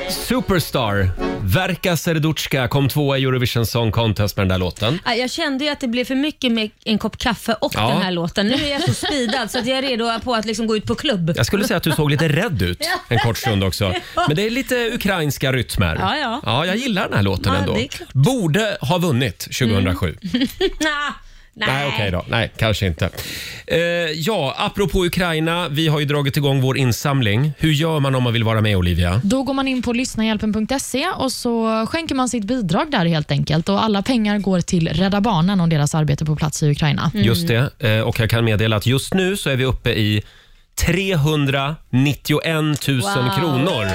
[SPEAKER 1] superstar. Verka Serdutska kom tvåa i Eurovision Song Contest med den där låten.
[SPEAKER 2] Ja, Jag kände ju att det blev för mycket med en kopp kaffe och
[SPEAKER 1] Ja.
[SPEAKER 2] den här låten. Nu är jag så speedad så att jag är redo på att liksom gå ut på klubb.
[SPEAKER 1] Jag skulle säga att du såg lite rädd ut en kort stund också. Men det är lite ukrainska rytmer.
[SPEAKER 2] Ja, ja.
[SPEAKER 1] jag gillar den här låten
[SPEAKER 2] Ja,
[SPEAKER 1] ändå.
[SPEAKER 2] det är klart.
[SPEAKER 1] Borde ha vunnit 2007.
[SPEAKER 2] Nja, Nej.
[SPEAKER 1] Nej, okej då. Nej, kanske inte. Eh, ja, apropå Ukraina. Vi har ju dragit igång vår insamling. Hur gör man om man vill vara med,
[SPEAKER 2] Mm.
[SPEAKER 1] Olivia?
[SPEAKER 3] Då går man in på lyssnahjälpen.se och så skänker man sitt bidrag där helt enkelt. Och Alla pengar går till Rädda Barnen och deras arbete på plats i Ukraina.
[SPEAKER 1] Just det. Eh, och jag kan meddela att just nu så är vi uppe i 391 000
[SPEAKER 2] Wow.
[SPEAKER 1] kronor.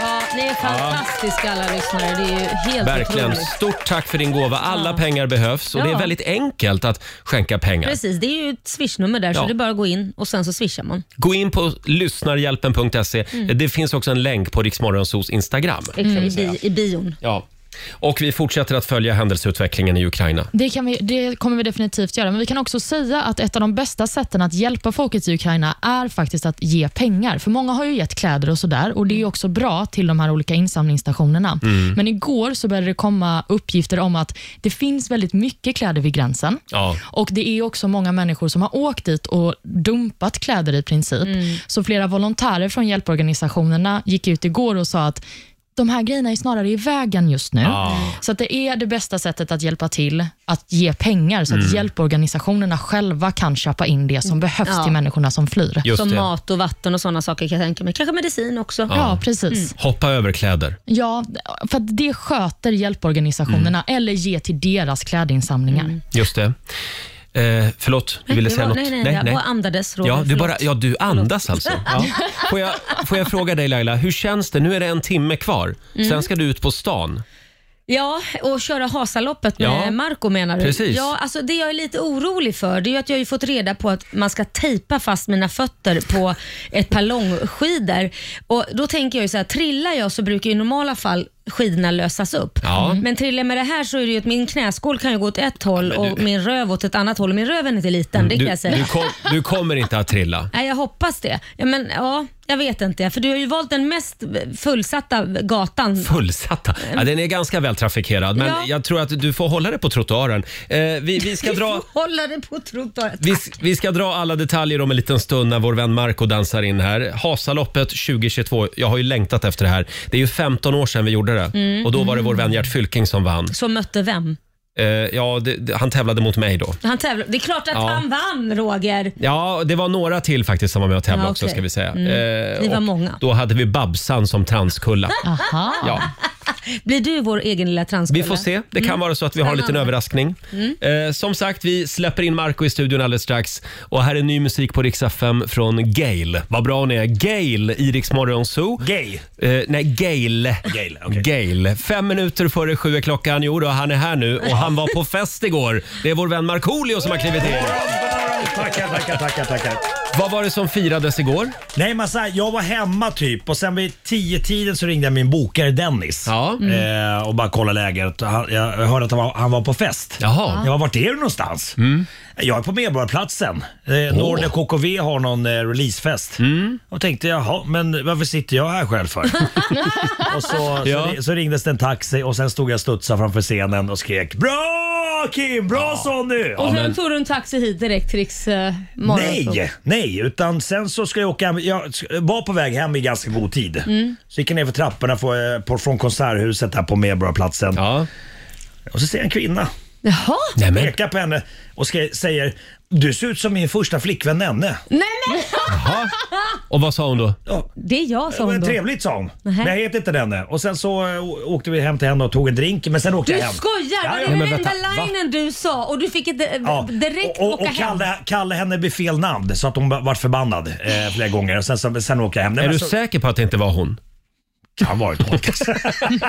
[SPEAKER 2] Ja, ni är fantastiska alla lyssnare. Det är ju helt
[SPEAKER 1] Verkligen.
[SPEAKER 2] otroligt.
[SPEAKER 1] Stort tack för din gåva. Alla pengar behövs och det är
[SPEAKER 2] Ja.
[SPEAKER 1] väldigt enkelt att skänka pengar.
[SPEAKER 2] Precis, det är ju ett swishnummer där
[SPEAKER 1] Ja.
[SPEAKER 2] så det är bara att gå in och sen så swishar man.
[SPEAKER 1] Gå in på lyssnarhjälpen.se.
[SPEAKER 2] Mm.
[SPEAKER 1] Det finns också en länk på Riksmorgonsos Instagram.
[SPEAKER 2] I, bi, I bion.
[SPEAKER 1] Ja. Och vi fortsätter att följa händelseutvecklingen i Ukraina.
[SPEAKER 3] Det, kan vi, det kommer vi definitivt göra, men vi kan också säga att ett av de bästa sätten att hjälpa folket i Ukraina är faktiskt att ge pengar. För många har ju gett kläder och sådär och det är ju också bra till de här olika insamlingsstationerna. Men igår så började det komma uppgifter om att det finns väldigt mycket kläder vid gränsen.
[SPEAKER 1] Ja.
[SPEAKER 3] Och Det är också många människor som har åkt dit och dumpat kläder i princip. Så flera volontärer från hjälporganisationerna gick ut igår och sa att de här grejerna är snarare i vägen just nu. Så att det är det bästa sättet att hjälpa till, att ge pengar så att
[SPEAKER 7] Mm.
[SPEAKER 3] hjälporganisationerna själva kan köpa in det som behövs
[SPEAKER 2] Ja.
[SPEAKER 3] till människorna som flyr.
[SPEAKER 1] Just
[SPEAKER 2] Som
[SPEAKER 1] det.
[SPEAKER 2] mat och vatten och sådana saker kan jag tänka mig. Kanske medicin också.
[SPEAKER 3] Ja, precis.
[SPEAKER 1] Hoppa över kläder.
[SPEAKER 3] Ja, för att det sköter hjälporganisationerna
[SPEAKER 7] Mm.
[SPEAKER 3] eller ge till deras klädinsamlingar.
[SPEAKER 1] Just det. Eh, förlåt, du ville
[SPEAKER 2] Det
[SPEAKER 1] säga
[SPEAKER 2] var,
[SPEAKER 1] något?
[SPEAKER 2] nej, nej, jag bara andades Roger.
[SPEAKER 1] Ja, du,
[SPEAKER 2] Förlåt.
[SPEAKER 1] bara, ja, du andas
[SPEAKER 2] [laughs]
[SPEAKER 1] alltså. Ja. Får, jag, får jag fråga dig Laila, hur känns det? Nu är det en timme kvar.
[SPEAKER 2] Mm.
[SPEAKER 1] Sen ska du ut på stan.
[SPEAKER 2] Ja, och köra Hasaloppet med
[SPEAKER 1] Ja.
[SPEAKER 2] Marco menar du?
[SPEAKER 1] Precis.
[SPEAKER 2] Ja, alltså det jag är lite orolig för det är ju att jag har ju fått reda på att man ska tejpa fast mina fötter på ett par långskidor. Och då tänker jag ju så här, trillar jag så brukar ju i normala fall skidorna lösas upp. Mm.
[SPEAKER 1] Ja.
[SPEAKER 2] Men trillar jag med det här så är det ju att min knäskål kan ju gå åt ett håll
[SPEAKER 1] men du- Mm,
[SPEAKER 2] och min röv åt ett annat håll. Min röv är inte liten, det kan
[SPEAKER 1] Du,
[SPEAKER 2] jag säga.
[SPEAKER 1] du, kom, du kommer inte att trilla.
[SPEAKER 2] Nej, jag hoppas det. Ja, men, ja, jag vet inte. För du har ju valt den mest fullsatta gatan.
[SPEAKER 1] Fullsatta. Ja, den är ganska vältrafikerad, men
[SPEAKER 2] Ja.
[SPEAKER 1] jag tror att du får hålla det på trottoaren. Eh, vi, vi, ska dra,
[SPEAKER 2] [laughs] Hålla det på trottoaren.
[SPEAKER 1] vi, vi ska dra alla detaljer om en liten stund när vår vän Marco dansar in här. Hasaloppet 2022. Jag har ju längtat efter det här. Det är ju 15 år sedan vi gjorde det
[SPEAKER 2] Mm.
[SPEAKER 1] och då var det vår vän Gert Fylking som vann.
[SPEAKER 2] Så mötte vem?
[SPEAKER 1] Eh, ja, det, det, han tävlade mot mig då.
[SPEAKER 2] Han tävlar. Det är klart att
[SPEAKER 1] Ja.
[SPEAKER 2] han vann, Roger.
[SPEAKER 1] Ja, det var några till faktiskt som var med och tävlade
[SPEAKER 2] Ja,
[SPEAKER 1] också
[SPEAKER 2] okej. Mm.
[SPEAKER 1] ska vi säga. Eh,
[SPEAKER 2] Ni var
[SPEAKER 1] och
[SPEAKER 2] många.
[SPEAKER 1] Då hade vi Babsan som
[SPEAKER 2] [laughs]
[SPEAKER 1] transkulla.
[SPEAKER 3] Aha.
[SPEAKER 1] Ja,
[SPEAKER 2] Blir du vår egen lilla transkulla?
[SPEAKER 1] vi får se. Det kan vara så att vi har en liten överraskning. Eh, som sagt, vi släpper in Marco i studion alldeles strax. Och här är ny musik på Rix FM från Gail. Vad bra hon är. Gail i Rix Morgon Zoo.
[SPEAKER 7] Gay.
[SPEAKER 1] Eh, nej, Gail.
[SPEAKER 7] Gail, [laughs] okej.
[SPEAKER 1] Gail. Fem minuter före sju är klockan. Jo då, han är här nu och han var på fest igår. Det är vår vän Markoolio som har klivit in.
[SPEAKER 7] Tackar, tackar, tackar, tackar.
[SPEAKER 1] Vad var det som firades igår?
[SPEAKER 7] Nej, man säger, jag var hemma typ och sen vid tio tiden så ringde jag min bokare Dennis.
[SPEAKER 1] Ja.
[SPEAKER 7] Eh, och bara kollade läget. Han, jag hörde att han var, han var på fest.
[SPEAKER 1] Jaha. Mm.
[SPEAKER 7] Jag var vart är du någonstans? Jag är på Medborgarplatsen. Eh, Norden KKV har någon eh, releasefest.
[SPEAKER 1] Mm.
[SPEAKER 7] Och tänkte jaha, men varför sitter jag här själv för? och så,
[SPEAKER 1] Ja.
[SPEAKER 7] så, ri- så ringdes det en taxi och sen stod jag och studsade framför scenen och skrek Bra Kim! Bra Sonny!
[SPEAKER 2] Och sen tog du en taxi hit direkt till Riks eh, morgonshow.
[SPEAKER 7] Nej, nej, utan sen så ska jag åka hem. Jag sk- var på väg hem i ganska god tid.
[SPEAKER 2] Mm.
[SPEAKER 7] Så gick jag ner för trapporna på, eh, på, från Konserthuset här på Medborgarplatsen.
[SPEAKER 1] Ja.
[SPEAKER 7] Och så ser jag en kvinna.
[SPEAKER 2] Jaha?
[SPEAKER 1] Nej, men,
[SPEAKER 7] Pekar på henne och ska, säger Du ser ut som min första flickvän Nenne.
[SPEAKER 2] Nej men
[SPEAKER 1] jaha. Och vad sa hon då?
[SPEAKER 7] Ja,
[SPEAKER 2] det är jag
[SPEAKER 7] det var
[SPEAKER 2] som
[SPEAKER 7] en
[SPEAKER 2] då.
[SPEAKER 7] trevligt sa hon.
[SPEAKER 2] Nähä.
[SPEAKER 7] Men jag heter inte Nenne. Och sen så eh, å- åkte vi hem till henne och tog en drink, men sen åkte
[SPEAKER 2] Du
[SPEAKER 7] jag hem.
[SPEAKER 2] skojar!
[SPEAKER 7] Ja,
[SPEAKER 2] Var
[SPEAKER 7] ja.
[SPEAKER 2] det
[SPEAKER 1] Nej, men
[SPEAKER 2] den enda
[SPEAKER 1] vänta, va?
[SPEAKER 2] linen du sa och du fick ett, eh,
[SPEAKER 7] Ja,
[SPEAKER 2] direkt
[SPEAKER 7] och, och,
[SPEAKER 2] åka
[SPEAKER 7] och
[SPEAKER 2] hem?
[SPEAKER 7] kallade, kallade henne vid fel namn så att hon ba- vart förbannad eh, flera gånger. Och sen, sen, sen åkte jag hem. Nej,
[SPEAKER 1] Är
[SPEAKER 7] men alltså-
[SPEAKER 1] du
[SPEAKER 7] så,
[SPEAKER 1] säker på att det inte var hon?
[SPEAKER 7] kan vara ett håll.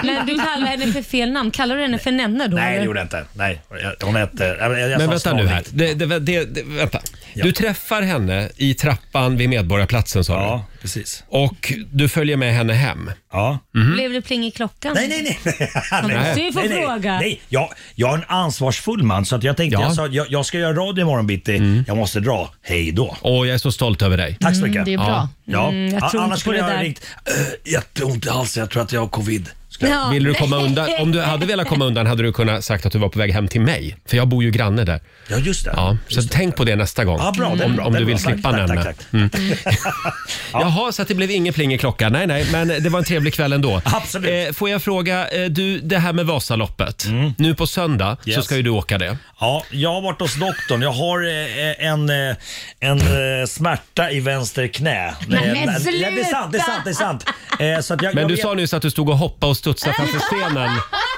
[SPEAKER 2] Men du kallade henne för fel namn. Kallar du henne för Nenne då?
[SPEAKER 7] Nej,
[SPEAKER 2] eller?
[SPEAKER 7] det gjorde jag inte. Nej, jag- hon hette... Jag, jag, jag
[SPEAKER 1] Men
[SPEAKER 7] sa
[SPEAKER 1] vänta nu här.
[SPEAKER 7] Snarvik.
[SPEAKER 1] Det, det, det, det, vänta.
[SPEAKER 7] Alltså, Ja.
[SPEAKER 1] Du träffar henne i trappan vid Medborgarplatsen sa
[SPEAKER 7] Ja,
[SPEAKER 1] du.
[SPEAKER 7] precis.
[SPEAKER 1] Och du följer med henne hem.
[SPEAKER 7] Ja.
[SPEAKER 2] Blev det pling i klockan?
[SPEAKER 7] Nej, nej, nej.
[SPEAKER 2] nej. Du Mm. får
[SPEAKER 7] nej, nej.
[SPEAKER 2] fråga.
[SPEAKER 7] Nej, jag, jag är en ansvarsfull man så att jag tänkte
[SPEAKER 1] Ja. Mm.
[SPEAKER 7] jag, sa, jag, jag ska göra radio imorgon bitti. Jag måste dra. Hej då.
[SPEAKER 1] Åh, jag är så stolt över dig.
[SPEAKER 7] Tack så
[SPEAKER 2] Mm,
[SPEAKER 7] mycket.
[SPEAKER 3] Mm, Det är bra.
[SPEAKER 7] Ja.
[SPEAKER 2] jag tror
[SPEAKER 7] annars
[SPEAKER 2] inte på
[SPEAKER 7] skulle
[SPEAKER 2] det
[SPEAKER 7] jag
[SPEAKER 2] där.
[SPEAKER 7] ha ringt. "Eh, Jätteont i halsen. Jag tror att jag har covid.
[SPEAKER 2] Ja.
[SPEAKER 1] Vill du komma undan? Om du hade velat komma undan hade du kunnat sagt att du var på väg hem till mig. För jag bor ju granne där.
[SPEAKER 7] Ja, just det.
[SPEAKER 1] Ja, så tänk på det nästa gång.
[SPEAKER 7] Ja, bra, det är
[SPEAKER 1] om
[SPEAKER 7] bra,
[SPEAKER 1] om
[SPEAKER 7] det är
[SPEAKER 1] du vill
[SPEAKER 7] bra. Tack,
[SPEAKER 1] slippa
[SPEAKER 7] tack,
[SPEAKER 1] nämna.
[SPEAKER 7] tack, tack.
[SPEAKER 1] Mm. Jaha, så att det blev ingen pling i klockan. Nej, nej, men det var en trevlig kväll ändå.
[SPEAKER 7] Absolut. Mm.
[SPEAKER 1] Eh, får jag fråga, eh, du, det här med Vasaloppet. Nu på söndag så
[SPEAKER 7] Yes.
[SPEAKER 1] ska ju du åka det.
[SPEAKER 7] Ja, jag har varit hos doktorn. Jag har eh, en, eh, en eh, smärta i vänster knä. Nej,
[SPEAKER 3] men
[SPEAKER 7] nej, det är sant, det är sant. Det är sant. Eh, så att jag,
[SPEAKER 1] Men
[SPEAKER 7] jag
[SPEAKER 1] du
[SPEAKER 7] vet-
[SPEAKER 1] sa nyss att du stod och hoppade och studsade
[SPEAKER 7] [laughs]
[SPEAKER 1] framför stenen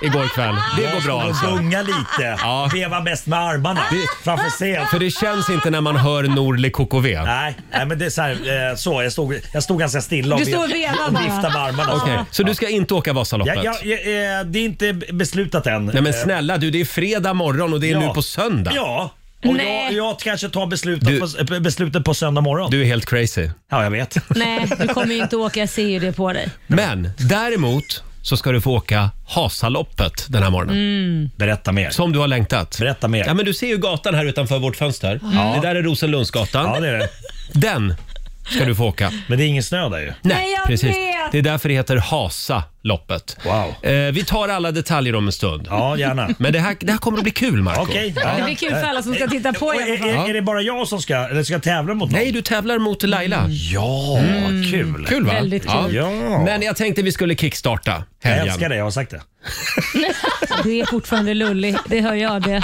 [SPEAKER 1] igår kväll. Det går bra
[SPEAKER 7] Jag skulle
[SPEAKER 1] alltså.
[SPEAKER 7] Gunga lite,
[SPEAKER 1] Ja.
[SPEAKER 7] veva mest med armarna framför scen.
[SPEAKER 1] För det känns inte när man hör Norli KKV.
[SPEAKER 7] Nej, nej, men det är så, här, eh, så jag, stod, jag stod ganska stilla och,
[SPEAKER 2] Du stod och
[SPEAKER 7] ve-
[SPEAKER 2] vevade
[SPEAKER 7] och
[SPEAKER 2] bara.
[SPEAKER 7] viftade med armarna.
[SPEAKER 1] Okej, så du ska inte åka Vasaloppet?
[SPEAKER 7] Jag, jag, jag, eh, det är inte beslutat än.
[SPEAKER 1] Nej men snälla du, det är fredag morgon och det är nu
[SPEAKER 7] Ja.
[SPEAKER 1] på söndag.
[SPEAKER 7] Ja, och jag,
[SPEAKER 2] Nej.
[SPEAKER 7] jag kanske tar beslutet,
[SPEAKER 1] Du-
[SPEAKER 7] på, eh, beslutet på söndag morgon.
[SPEAKER 1] Du är helt crazy.
[SPEAKER 7] Ja, jag vet.
[SPEAKER 2] [laughs] Nej, du kommer ju inte åka. Jag ser ju det på dig.
[SPEAKER 1] Men däremot så ska du få åka Hasaloppet den här morgonen.
[SPEAKER 7] Berätta mer.
[SPEAKER 1] Som du har längtat.
[SPEAKER 7] Mm. Berätta mer.
[SPEAKER 1] Ja men du ser ju gatan här utanför vårt fönster. Det där är Rosenlundsgatan.
[SPEAKER 7] Ja, det är det.
[SPEAKER 1] Den ska du få åka.
[SPEAKER 7] Men det är ingen snö där ju.
[SPEAKER 2] Nej, jag vet.
[SPEAKER 1] Det är därför det heter Hasaloppet.
[SPEAKER 7] Wow.
[SPEAKER 1] Eh, vi tar alla detaljer om en stund. [laughs]
[SPEAKER 7] Ja, gärna.
[SPEAKER 1] Men det här, det här kommer att bli kul Marco.
[SPEAKER 7] Okej.
[SPEAKER 2] Det
[SPEAKER 7] ja.
[SPEAKER 2] blir kul för alla som ska titta på
[SPEAKER 7] Och
[SPEAKER 2] i alla
[SPEAKER 7] är,
[SPEAKER 2] fall.
[SPEAKER 1] Ja.
[SPEAKER 7] är, är det bara jag som ska, eller ska jag tävla mot någon?
[SPEAKER 1] Nej, du tävlar mot Laila.
[SPEAKER 7] Ja, Mm. kul.
[SPEAKER 1] Kul va?
[SPEAKER 2] Väldigt kul.
[SPEAKER 7] Ja.
[SPEAKER 1] Men jag tänkte vi skulle kickstarta
[SPEAKER 7] Jag
[SPEAKER 1] helgen.
[SPEAKER 7] älskar det, jag har sagt det.
[SPEAKER 2] Du är fortfarande lullig, det hör jag det.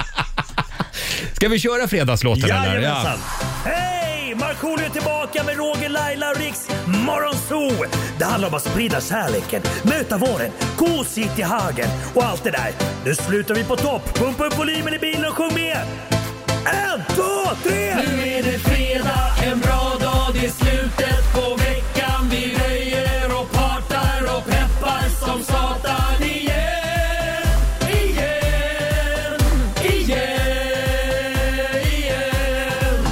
[SPEAKER 1] Ska vi köra fredagslåten eller?
[SPEAKER 7] Jajamensan! Hej! Markoolio är tillbaka med Roger, Laila och Riks Morgonzoo! Det handlar om att sprida kärleken, möta våren, gosigt i hagen och allt det där. Nu slutar vi på topp! Pumpa upp volymen i bilen och sjung med! En, två, tre! Nu är det fredag, en bra dag, det är slutet på veckan. Vi röjer och partar och peppar som satan igen, igen, igen, igen.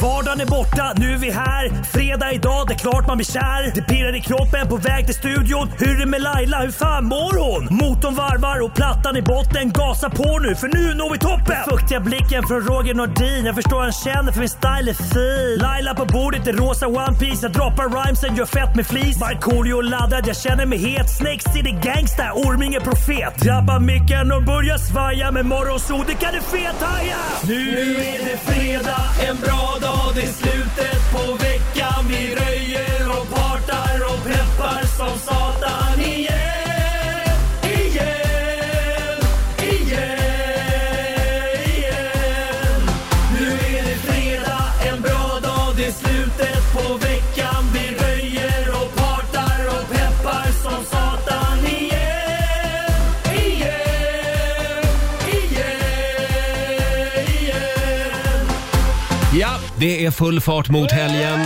[SPEAKER 7] Vardagen är borta, nu är vi här. Fredag idag, det är klart man blir kär. Det pirrar i kroppen på väg till studion. Hur är det med Laila, hur fan mår hon? Motorn varvar och plattan i botten. Gasa på nu, för nu når vi toppen! Den fuktiga blicken från Roger Nordin. Jag förstår han känner, för min style är fin. Laila på bordet i rosa One Piece Jag droppar rhymesen, gör fett med flis. Markoolio laddad, jag känner mig het. Snakes city gangsta, Orminge profet. Drabbar micken och börjar svaja. Med morgonsol, det kan du fethaja! Nu är det fredag, en bra dag. Det är slutet på veckan. Vi röjer och partar och peppar som satan igen. Igen, igen, igen. Nu är det fredag, en bra dag. Det är slutet på veckan. Vi röjer och partar och peppar som satan igen. Igen, igen, igen.
[SPEAKER 1] Ja, det är full fart mot helgen.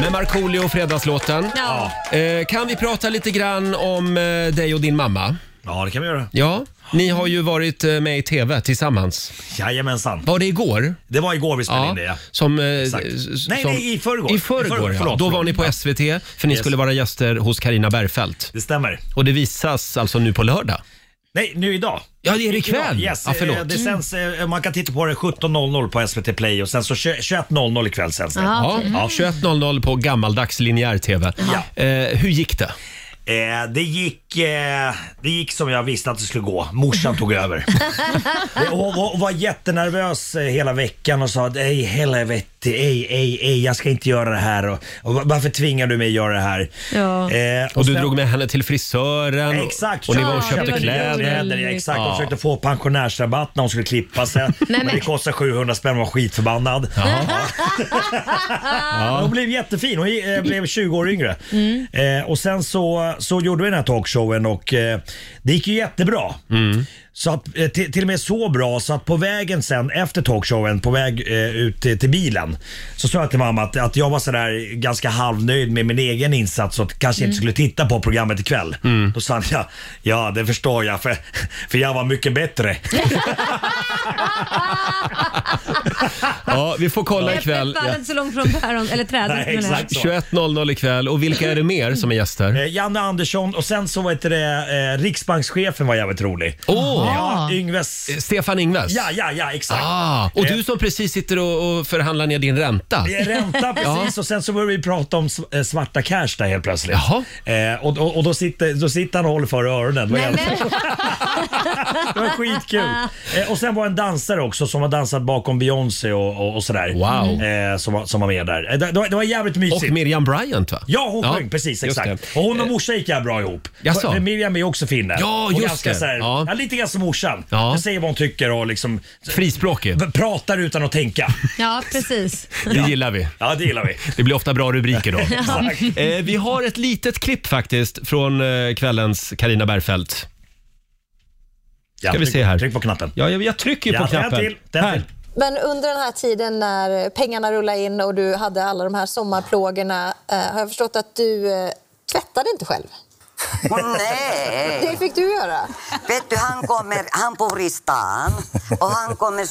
[SPEAKER 1] Med Markoolio och Fredagslåten.
[SPEAKER 2] Ja.
[SPEAKER 1] Eh, kan vi prata lite grann om eh, dig och din mamma?
[SPEAKER 7] Ja, det kan vi göra.
[SPEAKER 1] Ja, ni har ju varit eh, med i TV tillsammans.
[SPEAKER 7] Jajamensan.
[SPEAKER 1] Var det igår?
[SPEAKER 7] Det var igår vi spelade in det. Ja.
[SPEAKER 1] Som, eh, s-
[SPEAKER 7] Exakt.
[SPEAKER 1] s-
[SPEAKER 7] Nej,
[SPEAKER 1] som,
[SPEAKER 7] nej, i förrgår.
[SPEAKER 1] I
[SPEAKER 7] I förrgår,
[SPEAKER 1] förrgår, ja.
[SPEAKER 7] förlåt,
[SPEAKER 1] Då var
[SPEAKER 7] förlåt.
[SPEAKER 1] ni på
[SPEAKER 7] Ja.
[SPEAKER 1] SVT för ni
[SPEAKER 7] Yes.
[SPEAKER 1] skulle vara gäster hos Karina Bergfeldt.
[SPEAKER 7] Det stämmer.
[SPEAKER 1] Och det visas alltså nu på lördag.
[SPEAKER 7] Nej, nu idag.
[SPEAKER 1] Ja, det är ikväll.
[SPEAKER 7] Idag, yes.
[SPEAKER 1] Ja, förlåt.
[SPEAKER 7] Eh, Det sänds, eh, man kan titta på det 17.00 på SVT Play och sen så 20- 21.00 ikväll sänds det.
[SPEAKER 1] Ja,
[SPEAKER 7] Mm.
[SPEAKER 1] 21.00 på gammaldags linjär TV.
[SPEAKER 7] Ja.
[SPEAKER 1] Eh, hur gick det?
[SPEAKER 7] Eh, det, gick, eh, det gick som jag visste att det skulle gå. Morsan tog över. Eh, Hon, hon var jättenervös eh, hela veckan och sa ej helvete, ej, ej, ej, jag ska inte göra det här. Och, och va- varför tvingar du mig att göra det här?
[SPEAKER 2] Ja.
[SPEAKER 7] Eh,
[SPEAKER 1] Och du
[SPEAKER 7] sen-
[SPEAKER 1] drog med henne till frisören. och-
[SPEAKER 7] Exakt.
[SPEAKER 1] Och ni var och
[SPEAKER 2] Ja,
[SPEAKER 1] köpte
[SPEAKER 2] det var
[SPEAKER 1] kläder.
[SPEAKER 2] roligt.
[SPEAKER 7] Ja, Exakt,
[SPEAKER 1] Ja.
[SPEAKER 7] hon försökte få pensionärsrabatt när hon skulle klippa sig. men
[SPEAKER 2] men-
[SPEAKER 7] det kostade 700 spänn och var skitförbannad. [laughs] Ja. Hon blev jättefin, hon eh, blev 20 år yngre. Eh, och sen så, så gjorde vi den här talkshowen och eh, det gick ju jättebra. Så att, eh, till, till och med så bra så att på vägen sen efter talkshowen, på väg eh, ut till, till bilen, så sa jag till mamma att, att jag var sådär ganska halvnöjd med min egen insats och att kanske inte skulle titta på programmet ikväll. Då sa han ja, ja det förstår jag för, [laughs] för jag var mycket bättre.
[SPEAKER 1] Ja, vi får kolla ikväll.
[SPEAKER 2] Äpplet faller inte så långt från päron, eller trädet.
[SPEAKER 7] [laughs] Nej,
[SPEAKER 2] menar jag.
[SPEAKER 7] exakt.
[SPEAKER 1] Ja. 21.00 ikväll. Och vilka är det mer som är gäster?
[SPEAKER 7] Eh, Janne Andersson och sen så var det eh, riksbankschefen var jävligt rolig.
[SPEAKER 1] Åh,
[SPEAKER 3] Ja.
[SPEAKER 7] Yngves.
[SPEAKER 1] Stefan Ingves?
[SPEAKER 7] Ja, ja, ja, exakt.
[SPEAKER 1] Ah, och du
[SPEAKER 7] Eh,
[SPEAKER 1] som precis sitter och, och förhandlar ner din ränta.
[SPEAKER 7] det är
[SPEAKER 1] [laughs]
[SPEAKER 7] ränta precis och sen så börjar vi prata om sv- eh, svarta cash där helt plötsligt.
[SPEAKER 1] Jaha.
[SPEAKER 7] Eh, och och, och då, sitter, då sitter han och håller för öronen. Nej, [laughs] det var skitkul. Eh, och sen var en dansare också som har dansat bakom Beyoncé och, och, och sådär.
[SPEAKER 1] Wow.
[SPEAKER 7] Eh, som, var- som var med där. Eh, det, det var- det var jävligt mysigt.
[SPEAKER 1] Och Miriam Bryant va?
[SPEAKER 7] Ja, hon
[SPEAKER 1] Ja,
[SPEAKER 7] sjöng precis.
[SPEAKER 1] just
[SPEAKER 7] Exakt.
[SPEAKER 1] det. Eh,
[SPEAKER 7] Och hon och morsan gick jag bra ihop.
[SPEAKER 1] Jaså?
[SPEAKER 7] Men Miriam är ju också finne.
[SPEAKER 1] Ja,
[SPEAKER 7] Och
[SPEAKER 1] just
[SPEAKER 7] ganska
[SPEAKER 1] det.
[SPEAKER 7] Så här,
[SPEAKER 1] Ja.
[SPEAKER 7] ja. lite grann som morsan.
[SPEAKER 1] Ja.
[SPEAKER 7] Hon säger vad hon tycker och liksom
[SPEAKER 1] Frispråkig.
[SPEAKER 7] v- pratar utan att tänka.
[SPEAKER 2] Ja, precis.
[SPEAKER 1] Det gillar vi.
[SPEAKER 7] Ja, det gillar vi.
[SPEAKER 1] [laughs] Det blir ofta bra rubriker
[SPEAKER 7] [laughs]
[SPEAKER 1] då.
[SPEAKER 7] Exakt.
[SPEAKER 1] Eh, vi har ett litet klipp faktiskt från eh, kvällens Carina Bergfeldt.
[SPEAKER 7] Ja,
[SPEAKER 1] vi
[SPEAKER 7] tryck-
[SPEAKER 1] se här.
[SPEAKER 7] Tryck på knappen.
[SPEAKER 1] Ja, jag, jag trycker ju
[SPEAKER 7] Ja,
[SPEAKER 1] på
[SPEAKER 7] den
[SPEAKER 1] knappen.
[SPEAKER 7] till, den
[SPEAKER 1] Här.
[SPEAKER 7] till.
[SPEAKER 8] Men under den här tiden när pengarna rullade in och du hade alla de här sommarplågorna eh, har jag förstått att du eh, tvättade inte själv.
[SPEAKER 9] Nej,
[SPEAKER 8] Det fick du göra.
[SPEAKER 9] vet du han kommer, han bor i stan och han kommer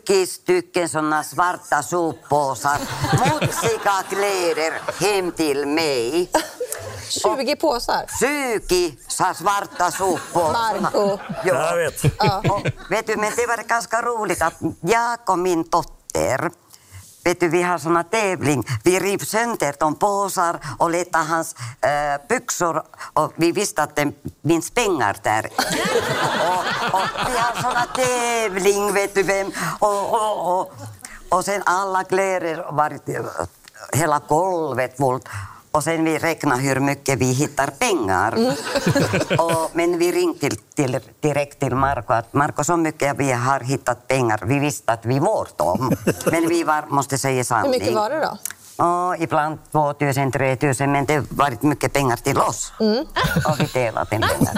[SPEAKER 9] 20 stycken såna svarta soppåsar, smutsiga kläder hem till mig.
[SPEAKER 8] 20 påsar.
[SPEAKER 9] 20 sa svarta soppåsar.
[SPEAKER 8] Marco.
[SPEAKER 9] Ja.
[SPEAKER 7] Jag vet.
[SPEAKER 9] Och, vet du, men det var ganska roligt att jag och min dotter Vet du, vi har såna tävling. Vi rev sönder de påsar och letade hans eh, byxor och vi visste att det finns pengar där. och, och vi har såna tävling, vet du vem. Och, och, och, och sen alla kläder varit hela golvet fullt. Och sen vi räknar hur mycket vi hittar pengar. och, men vi ringde till, till, direkt till Marko att Marko, så mycket vi har hittat pengar, vi visste att vi var dem. Men vi var, måste säga
[SPEAKER 8] Hur
[SPEAKER 9] sanning.
[SPEAKER 8] mycket var det då?
[SPEAKER 9] Ja, ibland 2000, 3000, men det har varit mycket pengar till oss.
[SPEAKER 1] Mm.
[SPEAKER 9] Och vi delade den pengar.